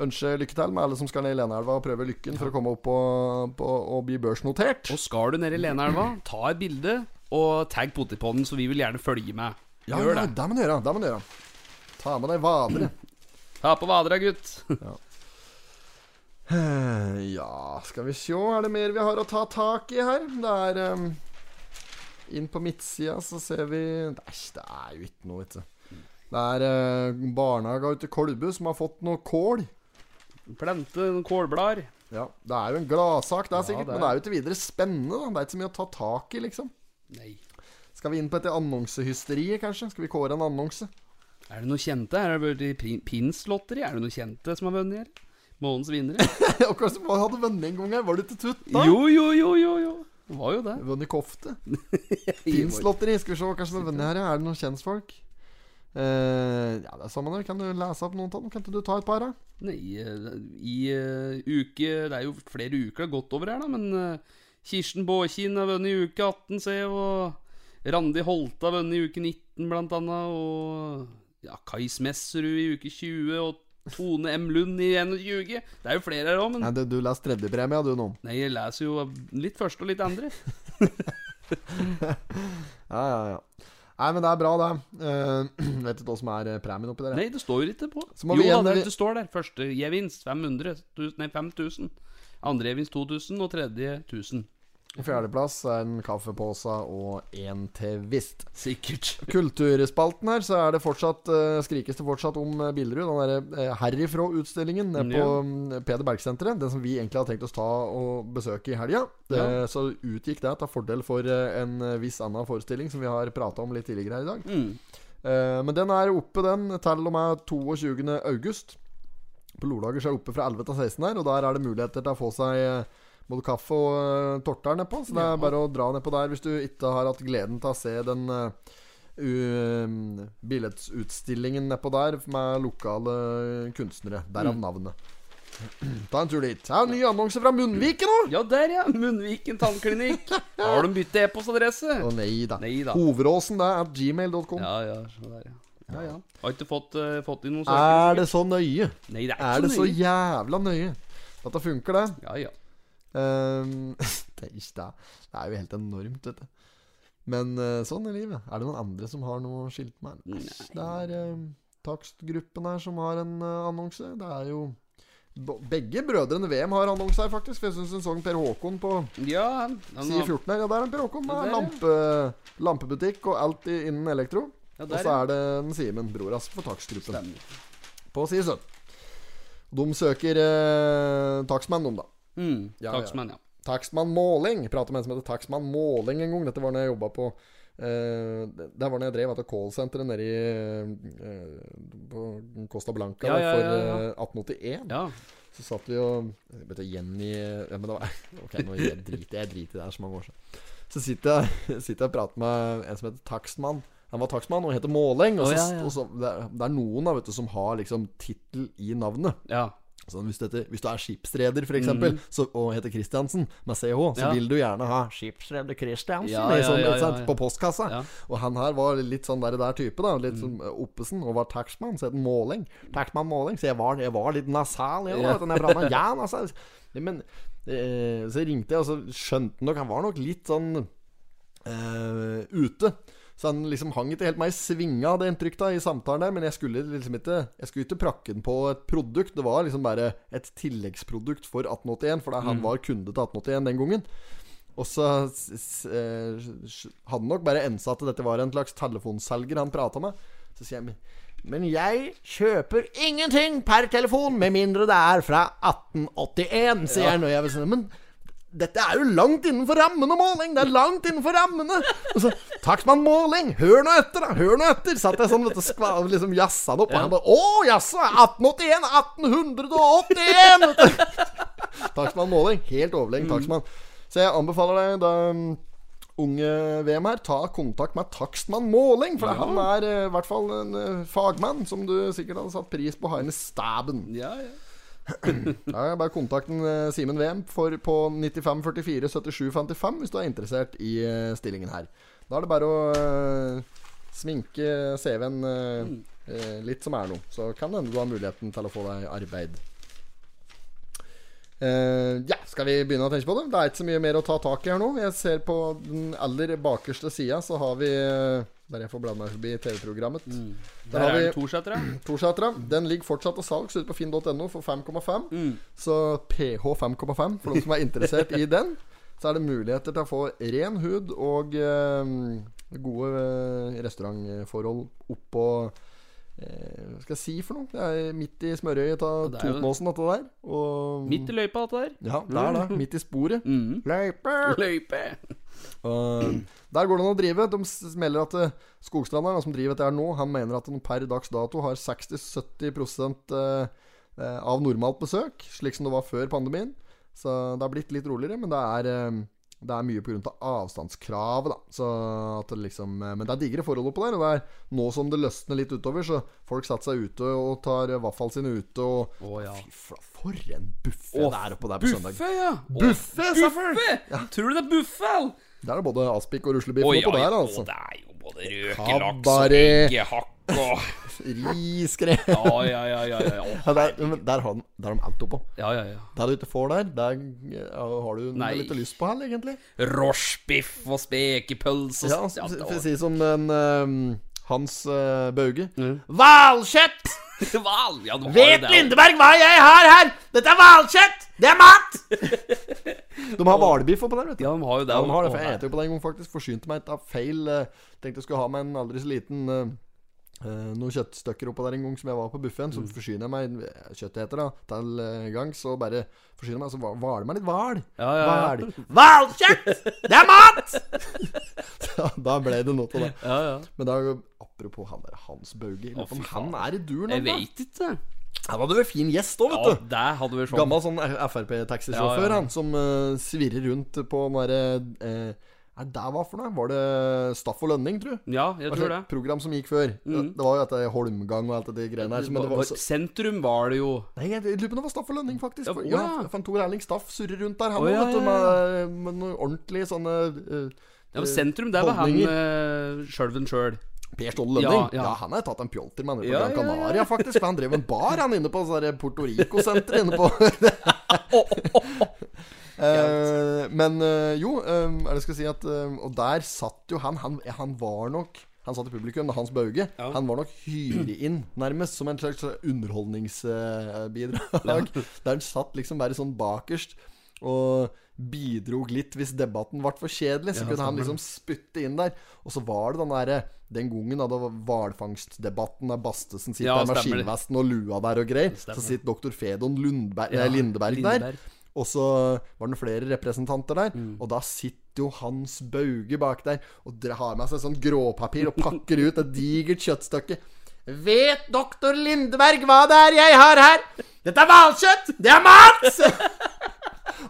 Speaker 5: Ønske lykke til med alle som skal ned i Leneelva Og prøve lykken for å komme opp og, på, og bli børsnotert
Speaker 6: Og skal du ned i Leneelva, ta et bilde og tagg Pottipodden, så vi vil gjerne følge med.
Speaker 5: Ja,
Speaker 6: Gjør
Speaker 5: ja,
Speaker 6: det.
Speaker 5: det må du gjøre Det må du gjøre Ta med deg vadere
Speaker 6: Ta på vadra, gutt.
Speaker 5: Eh, Ja, skal vi se Er det mer vi har å ta tak i her? Det er um, Inn på midtsida så ser vi Æsj, det er jo ikke noe, vet du. Det er eh, barnehaga ute i Kolbu som har fått noe kål.
Speaker 6: Plante noen kålblader.
Speaker 5: Ja, Det er jo en gladsak, det er sikkert,
Speaker 6: det er.
Speaker 5: men det er jo ikke videre spennende. da Det er ikke så mye å ta tak i, liksom.
Speaker 6: Nei.
Speaker 5: Skal vi inn på dette annonsehysteriet, kanskje? Skal vi kåre en annonse?
Speaker 6: Er det noe kjente? Er det bare pin- Pinslotteri? Er det noe kjente som har vunnet her? Månens vinnere?
Speaker 5: Og kanskje man hadde vunnet en gang her, var du til tutt da?
Speaker 6: Jo, jo, jo, jo, jo. Det var jo det.
Speaker 5: Vunnet kofte. Fins lotteri. Skal vi se hva som er vunnet her. ja. Er det noen kjentfolk? Eh, ja, det er samme det. Kan du lese opp noen av dem? Kan ikke du ta et par, da?
Speaker 6: Nei, eh, i eh, uke Det er jo flere uker det har gått over her, da, men eh, Kirsten Båkin har vunnet i uke 18, ser jeg, og Randi Holte har vunnet i uke 19, blant annet, og ja, Kai Smesserud i uke 20, og Tone M. Lund i 21. Det er jo flere her òg, men
Speaker 5: Nei, du, du leser tredjepremia, du, nå.
Speaker 6: Nei, jeg leser jo litt første og litt andre.
Speaker 5: Ja, ja, ja. Nei, men det er bra, det. Eh, vet ikke hva som er eh, premien oppi der. jeg.
Speaker 6: Nei, det står jo ikke på.
Speaker 5: Så må
Speaker 6: jo
Speaker 5: vi
Speaker 6: da,
Speaker 5: igjen-
Speaker 6: det, det står der. Første gevinst 500, tu- nei 5000. Andre gevinst 2000, og tredje 1000.
Speaker 5: På Fjerdeplass er en kaffepose og en til visst.
Speaker 6: Sikkert.
Speaker 5: Kulturspalten her, så er det fortsatt eh, skrikes det fortsatt om eh, Billerud. Den derre uh, herifrå-utstillingen nede på
Speaker 6: Ja.
Speaker 5: mm, Peder Berg-senteret. Den som vi egentlig hadde tenkt oss ta og besøke i helga. Det-
Speaker 6: Ja.
Speaker 5: Så utgikk det til fordel for eh, en eh, viss annen forestilling som vi har prata om litt tidligere her i dag.
Speaker 6: Mm.
Speaker 5: Eh, men den er oppe, den, til og med 22. august. På Lolager så er det oppe fra 11 til 16 her, og der er det muligheter til å få seg eh, både kaffe og eh, torter nedpå. Så det
Speaker 6: Ja.
Speaker 5: er bare å dra nedpå der hvis du ikke har hatt gleden til å se den eh, u- billedutstillingen nedpå der med lokale kunstnere. Derav navnet. Ta en tur dit. Det er en ny annonse fra Munnviken nå!
Speaker 6: Ja, der, ja. Munnviken tannklinikk. Har de byttet
Speaker 5: Å
Speaker 6: e-postadresse?
Speaker 5: nei da.
Speaker 6: Nei da.
Speaker 5: Hoveråsen, det er gmail.com.
Speaker 6: Ja, ja. Så der, ja. ja, ja. Har ikke fått, eh, fått inn noen
Speaker 5: Er
Speaker 6: søkere?
Speaker 5: det så nøye?
Speaker 6: Nei, det er,
Speaker 5: Er det så
Speaker 6: ikke nøye.
Speaker 5: jævla nøye? Dette funker, det.
Speaker 6: Ja, ja.
Speaker 5: Ehm, det, er ikke det. det er jo helt enormt, vet du. Men eh, sånn er livet. Er det noen andre som har noe skilt med? Æsj, det er eh, takstgruppen her som har en eh, annonse. Det er jo bo- Begge brødrene VM har annonse her, faktisk. For jeg syns en sånn Per Håkon på
Speaker 6: Ja, han, han,
Speaker 5: side 14 her. Ja, der er en Per Håkon.
Speaker 6: Ja,
Speaker 5: Det er lampe, lampebutikk og alt i, innen elektro.
Speaker 6: ja,
Speaker 5: Og
Speaker 6: der,
Speaker 5: så
Speaker 6: ja.
Speaker 5: er det en Simen, bror hans, for takstgruppen
Speaker 6: Stemmer.
Speaker 5: på side 17. De søker eh, takstmenn, de, da.
Speaker 6: Mm,
Speaker 5: Ja, ja.
Speaker 6: Takstmann, ja.
Speaker 5: Taxman Måling. Prata med en som heter Taxman Måling en gang. Dette var når jeg jobba på eh, det det var når jeg drev etter callsenteret nede i eh, på Costa Blanca
Speaker 6: Ja,
Speaker 5: der,
Speaker 6: ja, ja, ja.
Speaker 5: for eh, 1881.
Speaker 6: ja.
Speaker 5: Så satt vi og Jeg vet ikke, Jenny ja, men det var, Ok, nå gir jeg drit jeg driter i det her så mange år siden. Så sitter jeg, sitter jeg og prater med en som heter Takstmann. Han var takstmann og heter Måling. Og
Speaker 6: Å,
Speaker 5: så,
Speaker 6: ja, ja.
Speaker 5: Og så, det, er, det er noen da, vet du, som har liksom tittel i navnet.
Speaker 6: ja.
Speaker 5: Sånn, hvis, du heter, hvis du er skipsreder, for eksempel, så, og heter Kristiansen med CH, så
Speaker 6: Mhm. Ja.
Speaker 5: vil du gjerne ha 'Skipsreder Kristiansen'
Speaker 6: Ja,
Speaker 5: i
Speaker 6: ja,
Speaker 5: sånn,
Speaker 6: ja,
Speaker 5: ikke sant,
Speaker 6: ja, ja.
Speaker 5: på postkassa.
Speaker 6: Ja.
Speaker 5: Og han her var litt sånn der, der type, da. Litt sånn eh, oppesen, og var taxman, så het han Måling. Taxman Måling. Så jeg var, jeg var litt nasal, jeg
Speaker 6: Ja.
Speaker 5: òg, når jeg pratet med han. Ja, altså, men eh, Så ringte jeg, og så skjønte han nok Han var nok litt sånn eh, ute. Så han liksom hang ikke helt meg i svinga, hadde jeg inntrykk av, i samtalen der. Men jeg skulle liksom ikke Jeg skulle ikke prakke den på et produkt. Det var liksom bare et tilleggsprodukt for 1881, for da
Speaker 6: Mm.
Speaker 5: han var kunde til 1881 den gangen. Og så s- s- eh, s- hadde han nok bare ensa at dette var en slags telefonselger han prata med. Så sier jeg "Men- Men jeg kjøper ingenting per telefon, med mindre det er fra 1881, sier han. Og jeg vil si Men dette er jo langt innenfor rammene, Måling! Det er langt innenfor rammene! Og så, Takstmann Måling, hør nå etter, da! Hør nå etter! Satt jeg sånn vet du, skva, og liksom jazza han opp, og han bare Å, jazza! 1881! 1881! vet du. Takstmann Måling, helt overlegen takstmann. Så jeg anbefaler deg da um, Unge VM her, ta kontakt med takstmann Måling, for han er eh, i hvert fall en eh, fagmann som du sikkert hadde satt pris på å ha inn i staben.
Speaker 6: ja, ja.
Speaker 5: Ja, jeg bare kontakt en, eh, Simen VM for, på 95447755 hvis du er interessert i eh, stillingen her. Da er det bare å eh, sminke CV-en eh, eh, litt som er noe. Så kan det hende du har muligheten til å få deg arbeid. Eh, ja, skal vi begynne å tenke på det? Det er ikke så mye mer å ta tak i her nå. Jeg ser på den aller bakerste sida, så har vi eh, Der jeg får bla meg forbi TV-programmet.
Speaker 6: Der,
Speaker 5: har
Speaker 6: er
Speaker 5: vi-
Speaker 6: det Torsetra.
Speaker 5: Torsetra. Den ligger fortsatt til salgs ute på finn.no for 5,5.
Speaker 6: Mm.
Speaker 5: Så ph 5,5 for de som er interessert i den. Så er det muligheter til å få ren hud og eh, gode eh, restaurantforhold oppå eh, Hva skal jeg si for noe? Det er midt i smørøyet av
Speaker 6: det er jo det.
Speaker 5: Totenåsen, dette der. Og,
Speaker 6: Midt i løypa, dette der.
Speaker 5: Ja, det er det. Midt i sporet.
Speaker 6: Mm.
Speaker 5: Løyper!
Speaker 6: Løype!
Speaker 5: Og der går det an å drive. De s- melder at eh, Skogstranda, som driver dette her nå, han mener at de per dags dato har 60-70 eh, eh, av normalt besøk, slik som det var før pandemien. Så det har blitt litt roligere, men det er eh, Det er mye pga. Av avstandskravet, da. Så at det liksom, eh, men det er digre forhold oppå der. Og det er nå som det løsner litt utover, så folk setter seg ute og tar eh, vaffelen sin ute og
Speaker 6: Å, ja.
Speaker 5: Fy fla, for en buffé det er oppå der på søndag.
Speaker 6: Buffe, ja! Å,
Speaker 5: Buffe, sa folk.
Speaker 6: Buffe! Tror du det er buffe, eller?
Speaker 5: Der er både aspik og ruslebiff
Speaker 6: Å,
Speaker 5: oppå
Speaker 6: ja, ja.
Speaker 5: der,
Speaker 6: Å,
Speaker 5: altså.
Speaker 6: det er jo både røkelaks og
Speaker 5: Kabaret.
Speaker 6: eggehakk og
Speaker 5: Riskre.
Speaker 6: Ja, ja, ja. ja, ja, ja.
Speaker 5: Ja, der, men der, har den, der har de alt oppå.
Speaker 6: ja, ja, ja.
Speaker 5: Det du ikke får der, der ja, har du
Speaker 6: Nei.
Speaker 5: litt lyst på her, egentlig.
Speaker 6: Rochebiff og spekepølse
Speaker 5: Ja,
Speaker 6: og sånn.
Speaker 5: for
Speaker 6: det
Speaker 5: for
Speaker 6: var-
Speaker 5: å si som en ehm, Hans eh, Bauge.
Speaker 7: Hvalkjøtt!
Speaker 6: Hval! Ja, du har
Speaker 7: Vet
Speaker 6: jo Mm. det, ja.
Speaker 7: Lindeberg hva jeg har her? Dette er hvalkjøtt! Det er mat!
Speaker 5: De har hvalbiff oppå der, vet du.
Speaker 6: Ja, de har jo det.
Speaker 5: Ja, de har det, for
Speaker 6: Å,
Speaker 5: Jeg
Speaker 6: nei.
Speaker 5: spilte jo på den gang faktisk. Forsynte meg av feil. eh, Tenkte jeg skulle ha meg en aldri så liten eh, eh, noen kjøttstykker oppå der en gang som jeg var på buffeen.
Speaker 6: Mm.
Speaker 5: Så forsyner jeg meg eh, kjøttet heter da til eh, gangs, og bare forsyner meg. Så hva- hvaler meg litt hval.
Speaker 6: Ja, ja, ja.
Speaker 5: Hval.
Speaker 7: Hvalkjøtt! Det er mat!
Speaker 5: Ja, da ble det noe av det.
Speaker 6: ja, ja.
Speaker 5: Men da, apropos han der Hans Bauge. jeg lurer på
Speaker 6: fy
Speaker 5: Om han er i duren
Speaker 6: Jeg
Speaker 5: ennå?
Speaker 6: veit ikke.
Speaker 5: Han hadde vært fin gjest òg,
Speaker 6: Ja,
Speaker 5: vet du.
Speaker 6: det hadde vært sånn.
Speaker 5: Gammel sånn Frp-taxisjåfør,
Speaker 6: Ja, ja.
Speaker 5: han, som eh, svirrer rundt på den derre eh, Er det der hva for noe? Var det Staff og Lønning, tru?
Speaker 6: Ja, jeg tror det. Mm.
Speaker 5: Program som gikk før. Det- Det var jo dette Holmgang og alt det greiene her. Men det var så...
Speaker 6: Sentrum var det jo.
Speaker 5: Nei, jeg lurer på om det var Staff og Lønning, faktisk.
Speaker 6: Ja,
Speaker 5: For,
Speaker 6: å,
Speaker 5: ja,
Speaker 6: ja.
Speaker 5: for Tor Erling Staff surrer rundt der, han
Speaker 6: Å,
Speaker 5: òg,
Speaker 6: ja,
Speaker 5: vet du.
Speaker 6: ja,
Speaker 5: Med, med noen ordentlige sånne eh,
Speaker 6: Ja, men Sentrum, der var han
Speaker 5: Holdninger.
Speaker 6: uh, sjølven sjøl.
Speaker 5: Per Ståle Lønning? Ja,
Speaker 6: Ja, ja.
Speaker 5: han har tatt en pjolter med han på
Speaker 6: Ja,
Speaker 5: Gran
Speaker 6: ja, ja.
Speaker 5: Canaria, faktisk. For han drev en bar, han, inne på sånn der Porto Rico-senteret inne på Eh, Men eh, jo, eh, er det jeg skal si at eh, Og der satt jo han. Han, han var nok han satt i publikum, da, Hans Bauge. Han var nok hyret inn, nærmest, som en slags eh, underholdningsbidrag. Der han satt liksom bare sånn bakerst og bidrog litt hvis debatten ble for kjedelig. Så kunne han liksom spytte inn der. Og så var det den derre den gangen da det var hvalfangstdebatten der Bastesen sitter
Speaker 6: Ja,
Speaker 5: der med
Speaker 6: stemmer det.
Speaker 5: skinnvesten og lua der og greier. Så sitter doktor Fedon Lundberg,
Speaker 6: Ja,
Speaker 5: eh, Lindeberg,
Speaker 6: Lindeberg. Mm.
Speaker 5: der. Og så var det flere representanter der. Og da sitter jo Hans Bauge bak der og dra- har med seg sånn gråpapir og pakker ut et digert kjøttstykke.
Speaker 7: Vet doktor Lindeberg hva det er jeg har her? Dette er hvalkjøtt! Det er mat!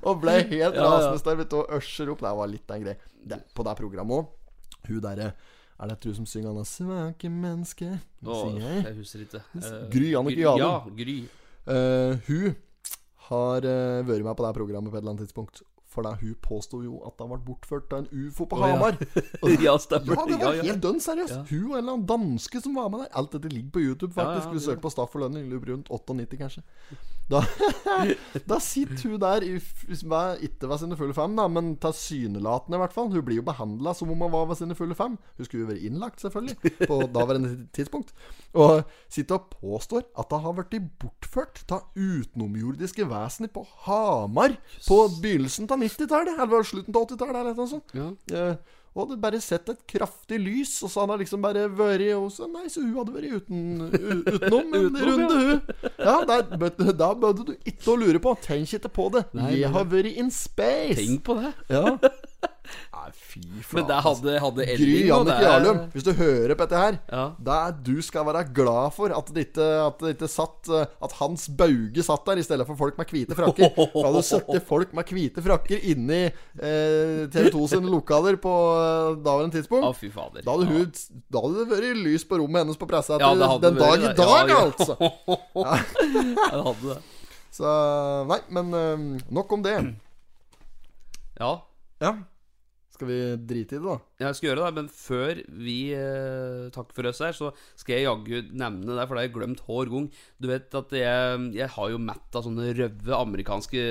Speaker 5: Og ble helt rasende der, vet du, og ørser opp. Det var litt av en greie. Det, på det programmet òg. Hun derre Er det et hun som synger han er 'Svake mennesker'?
Speaker 6: Å,
Speaker 5: Sier jeg.
Speaker 6: jeg husker ikke. Eh,
Speaker 5: Gry Annike
Speaker 6: Gry- Ja,
Speaker 5: Jahren.
Speaker 6: Gry.
Speaker 5: Eh, hun har eh, vært med på det her programmet på et eller annet tidspunkt. For da hun påsto jo at han ble bortført av en ufo på
Speaker 6: ja.
Speaker 5: Hamar.
Speaker 6: Ja,
Speaker 5: Ja,
Speaker 6: stemmer.
Speaker 5: det var
Speaker 6: ja.
Speaker 5: helt dønn seriøst. Hun og en eller annen danske som var med der. Alt dette ligger på YouTube,
Speaker 6: Ja, ja,
Speaker 5: faktisk.
Speaker 6: det
Speaker 5: du søker på Staff og Lønning, lurer rundt 98, kanskje. Da, da sitter hun der, i f- med- ikke ved sine fulle fem, da, men tilsynelatende, i hvert fall. Hun blir jo behandla som om hun var ved sine fulle fem. Hun skulle jo være innlagt, selvfølgelig, på daværende tidspunkt. Og sitter og påstår at hun har blitt bortført av utenomjordiske vesener på Hamar på begynnelsen av 90-tallet, eller slutten av 80-tallet, eller noe sånt.
Speaker 6: Ja.
Speaker 5: Eh, og hadde bare sett et kraftig lys, og så han har liksom bare vært og så, Nei, så hun hadde vært uten, u- utenom en
Speaker 6: Utenom,
Speaker 5: runde, hun. Ja, der, bød- da bød du ikke å lure på. Tenk ikke på det.
Speaker 6: Nei,
Speaker 5: Jeg
Speaker 6: nei.
Speaker 5: har vært in space.
Speaker 6: Tenk på det.
Speaker 5: Ja. Nei, fy
Speaker 6: Men
Speaker 5: flate.
Speaker 6: det hadde, hadde
Speaker 5: altså. Gry
Speaker 6: Elling, og
Speaker 5: Jannicke
Speaker 6: det-
Speaker 5: Jarlum, hvis du hører på dette her
Speaker 6: Ja.
Speaker 5: Det er Du skal være glad for at det ikke, at det ikke satt eh, At Hans Bauge satt der i stedet for folk med hvite frakker. Da hadde du sittet folk med hvite frakker inni eh, TV2 sine lokaler på eh, daværende tidspunkt.
Speaker 6: Å, fy fader.
Speaker 5: Da hadde, hun, da hadde det vært lys på rommet hennes på pressa
Speaker 6: Ja, det
Speaker 5: til
Speaker 6: hadde
Speaker 5: den
Speaker 6: vært
Speaker 5: dag i
Speaker 6: det.
Speaker 5: dag,
Speaker 6: Ja, ja.
Speaker 5: altså!
Speaker 6: Ja, det hadde det.
Speaker 5: Så nei, men eh, nok om det.
Speaker 6: Ja.
Speaker 5: Ja. Skal vi drite i det, da?
Speaker 6: Jeg skal gjøre det, men før vi eh, takker for oss her, så skal jeg jaggu nevne det, for det har jeg glemt hver gang. Du vet at jeg, jeg har jo mett av sånne røve amerikanske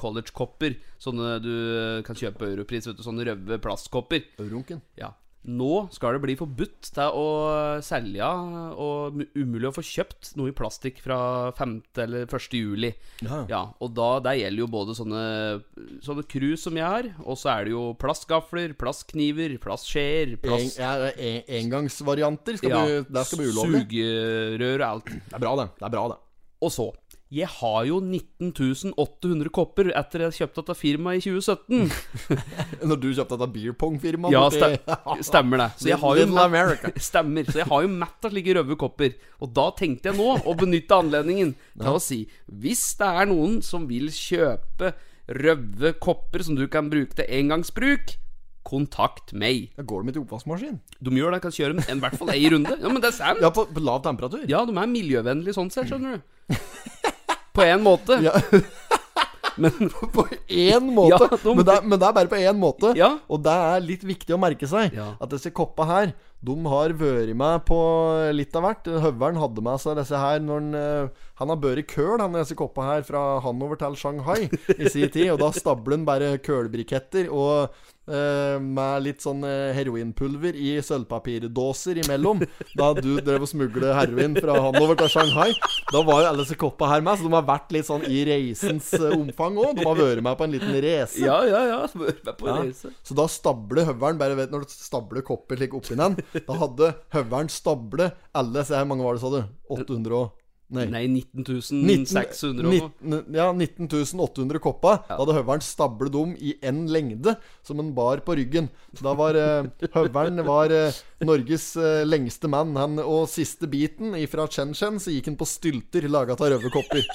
Speaker 6: college-kopper. Sånne du kan kjøpe på Europris, vet du. Sånne røve plastkopper.
Speaker 5: Runken.
Speaker 6: Ja. Nå skal det bli forbudt til å selge og mu- umulig å få kjøpt noe i plastikk fra 5. eller 1. juli.
Speaker 5: Ja.
Speaker 6: og da, det gjelder jo både sånne, sånne krus som jeg har, og så er det jo plastgafler, plastkniver, plastskjeer,
Speaker 5: En,
Speaker 6: plast...
Speaker 5: ja, en, engangsvarianter. Skal
Speaker 6: ja,
Speaker 5: bli- der skal bli ulovlig.
Speaker 6: Sugerør og alt.
Speaker 5: Det er bra, det. Det er bra, det.
Speaker 6: Og så Jeg har jo 19.800 kopper etter jeg kjøpte dette firmaet i 2017.
Speaker 5: Når du kjøpte dette beer pong-firmaet
Speaker 6: Ja,
Speaker 5: borti-
Speaker 6: stem, stemmer det. Så jeg har jo
Speaker 5: Little
Speaker 6: mett-
Speaker 5: America.
Speaker 6: Stemmer. Så jeg har jo mett av slike røde kopper. Og da tenkte jeg nå å benytte anledningen til å si hvis det er noen som vil kjøpe røve kopper som du kan bruke til engangsbruk, kontakt meg.
Speaker 5: Da går de til oppvaskmaskin.
Speaker 6: De gjør det, kan kjøre en, i hvert fall ei runde. Ja, men det er sant.
Speaker 5: Ja, på, på lav temperatur.
Speaker 6: Ja, de er miljøvennlige sånn sett, skjønner du. På én måte.
Speaker 5: Ja.
Speaker 6: Men
Speaker 5: På én måte.
Speaker 6: Ja, de-
Speaker 5: men, det er, men det er bare på én måte.
Speaker 6: Ja.
Speaker 5: Og det er litt viktig å merke seg
Speaker 6: Ja.
Speaker 5: at disse koppa her de har vært med på litt av hvert. Høveren hadde med seg disse her når han eh, Han har båret køl, han disse koppa her, fra Hanover til Shanghai i sin tid. Og da stabler han bare kølbriketter og eh, med litt sånn eh, heroinpulver i sølvpapirdåser imellom. Da du drev og smugle heroin fra Hanover til Shanghai. Da var jo alle disse koppa her med, så de har vært litt sånn i reisens eh, omfang òg. De har vært med på en liten race.
Speaker 6: Ja, ja, ja. Bør være på
Speaker 5: Ja.
Speaker 6: reise.
Speaker 5: Så da stabler høveren Bare vet når du stabler kopper slik oppi den Da hadde høveren stable alle Se her, E, mange var det, sa du? 800 og Nei,
Speaker 6: Nei, 19
Speaker 5: 19
Speaker 6: 600 og noe.
Speaker 5: 19 ja, 19.800 koppa Da hadde høveren stablet dem i en lengde Som en bar på ryggen Så da var eh, høveren var, eh, Norges eh, lengste mann han, Og siste biten fra Chen-Chen Så gikk han på stylter laget av røvekopper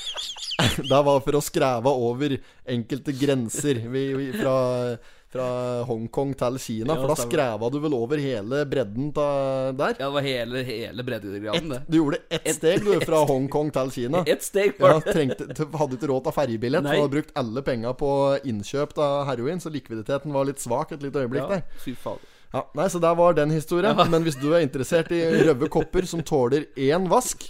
Speaker 5: det var for å skreve over enkelte grenser vi, vi, fra, fra Hongkong til Kina. For da skreva du vel over hele bredden ta, der?
Speaker 6: Ja, det var hele, hele breddegraden, det.
Speaker 5: Du gjorde ett steg du, fra Hongkong til Kina.
Speaker 6: Ett steg
Speaker 5: Ja,
Speaker 6: var det.
Speaker 5: trengte, t- hadde ikke råd til ferjebillett, for
Speaker 6: Nei.
Speaker 5: hadde brukt alle penga på innkjøp av heroin, så likviditeten var litt svak et lite øyeblikk
Speaker 6: Ja,
Speaker 5: der.
Speaker 6: fy fader.
Speaker 5: Ja, nei, så der var den historien. Men hvis du er interessert i røde kopper som tåler én vask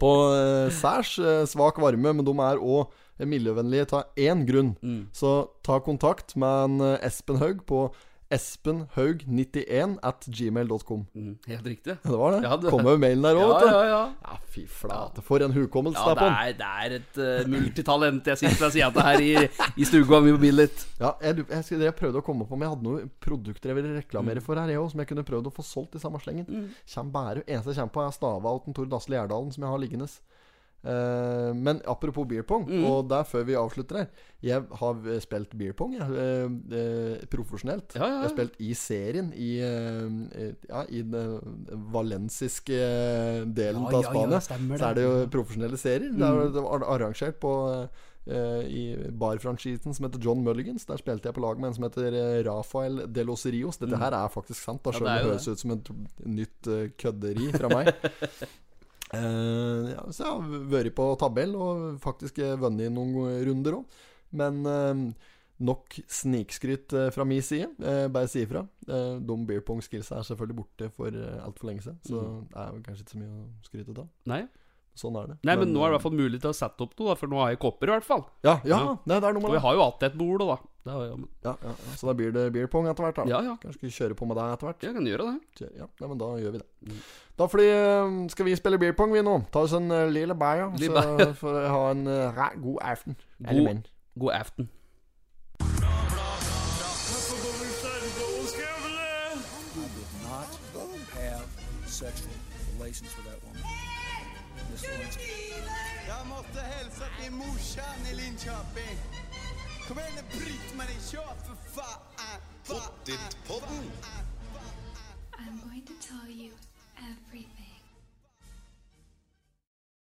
Speaker 5: på eh, særs eh, svak varme, men de er òg miljøvennlige av én grunn,
Speaker 6: Mm.
Speaker 5: så ta kontakt med en eh, Espen Haug på espenhaug91 at gmail.com.
Speaker 6: Mm, Helt riktig.
Speaker 5: Det var det.
Speaker 6: Ja, det-
Speaker 5: Kom jo mailen der òg,
Speaker 6: Ja,
Speaker 5: vet du.
Speaker 6: ja, ja.
Speaker 5: Ja, fy flate. For en hukommelse
Speaker 6: Ja,
Speaker 5: det er på
Speaker 6: det
Speaker 5: den.
Speaker 6: er, det er et eh, multitalent. Jeg sitter ved sida av det her i, i stua mi på Billit.
Speaker 5: Ja, jeg, lu- jeg, skulle- jeg prøvde å komme på om jeg hadde noen produkter jeg ville reklamere
Speaker 6: Mm.
Speaker 5: for her, jeg òg, som jeg kunne prøvd å få solgt i samme slengen. Kjem bare, eneste jeg kommer på, er Stava og Tor Dasle Gjerdalen, som jeg har liggende. Eh, men apropos beer pong,
Speaker 6: Mm.
Speaker 5: og det er før vi avslutter her. Jeg har eh, spilt beer pong jeg, eh, eh, profesjonelt.
Speaker 6: Ja, ja, ja.
Speaker 5: Jeg har spilt i serien i, eh, eh, ja, i den eh, valensiske eh, delen
Speaker 6: Ja,
Speaker 5: av
Speaker 6: ja, ja,
Speaker 5: Spania.
Speaker 6: stemmer
Speaker 5: så er
Speaker 6: det. Mm.
Speaker 5: det jo profesjonelle serier. Det er jo- Det var arrangert på eh, i barfranchisen som heter John Mulligans. Der spilte jeg på lag med en som heter eh, Rafael de los Rios. Dette her er faktisk sant, da, selv om
Speaker 6: Mm. det er
Speaker 5: det
Speaker 6: jo
Speaker 5: høres ut som et nytt eh, kødderi fra meg. Eh, ja, så jeg har vært på tabell og faktisk eh, vunnet noen gode runder òg. Men eh, nok snikskryt eh, fra min side. Eh, bare si ifra. Eh, de beer pong-skillsa er selvfølgelig borte for eh, altfor lenge siden, så
Speaker 6: Mm.
Speaker 5: det er jo kanskje ikke så mye å skryte av.
Speaker 6: Nei.
Speaker 5: Sånn er det.
Speaker 6: Nei, men nå er det i hvert fall mulig til å sette opp noe, da, for nå har jeg kopper, i hvert fall.
Speaker 5: eh, Ja, ja,
Speaker 6: Ja.
Speaker 5: Nei, det er noe
Speaker 6: Og
Speaker 5: med det.
Speaker 6: jeg har jo hatt et bord, da. da. Det har jeg-
Speaker 5: Ja, ja, ja. Så da blir det beer pong etter hvert, da.
Speaker 6: Ja, ja.
Speaker 5: Kanskje vi kjører på med deg etter hvert.
Speaker 6: Jeg kan gjøre det.
Speaker 5: Kjør- Ja, nei, men da gjør vi det.
Speaker 6: Mm.
Speaker 5: Da fordi, eh, skal vi spille beer pong, vi nå. Ta oss en eh, lille bayer,
Speaker 6: Lille
Speaker 5: så får vi ha en eh, ra- god aften. Eller
Speaker 6: God-
Speaker 5: men.
Speaker 6: God aften.
Speaker 1: I did not have sexual relations with that woman. Miss Lewinsky.
Speaker 2: Jag måste hälsa till morsan i Linköping. Kom igen nu Britt-Marie, kör för fan!
Speaker 4: I'm going to tell you everything.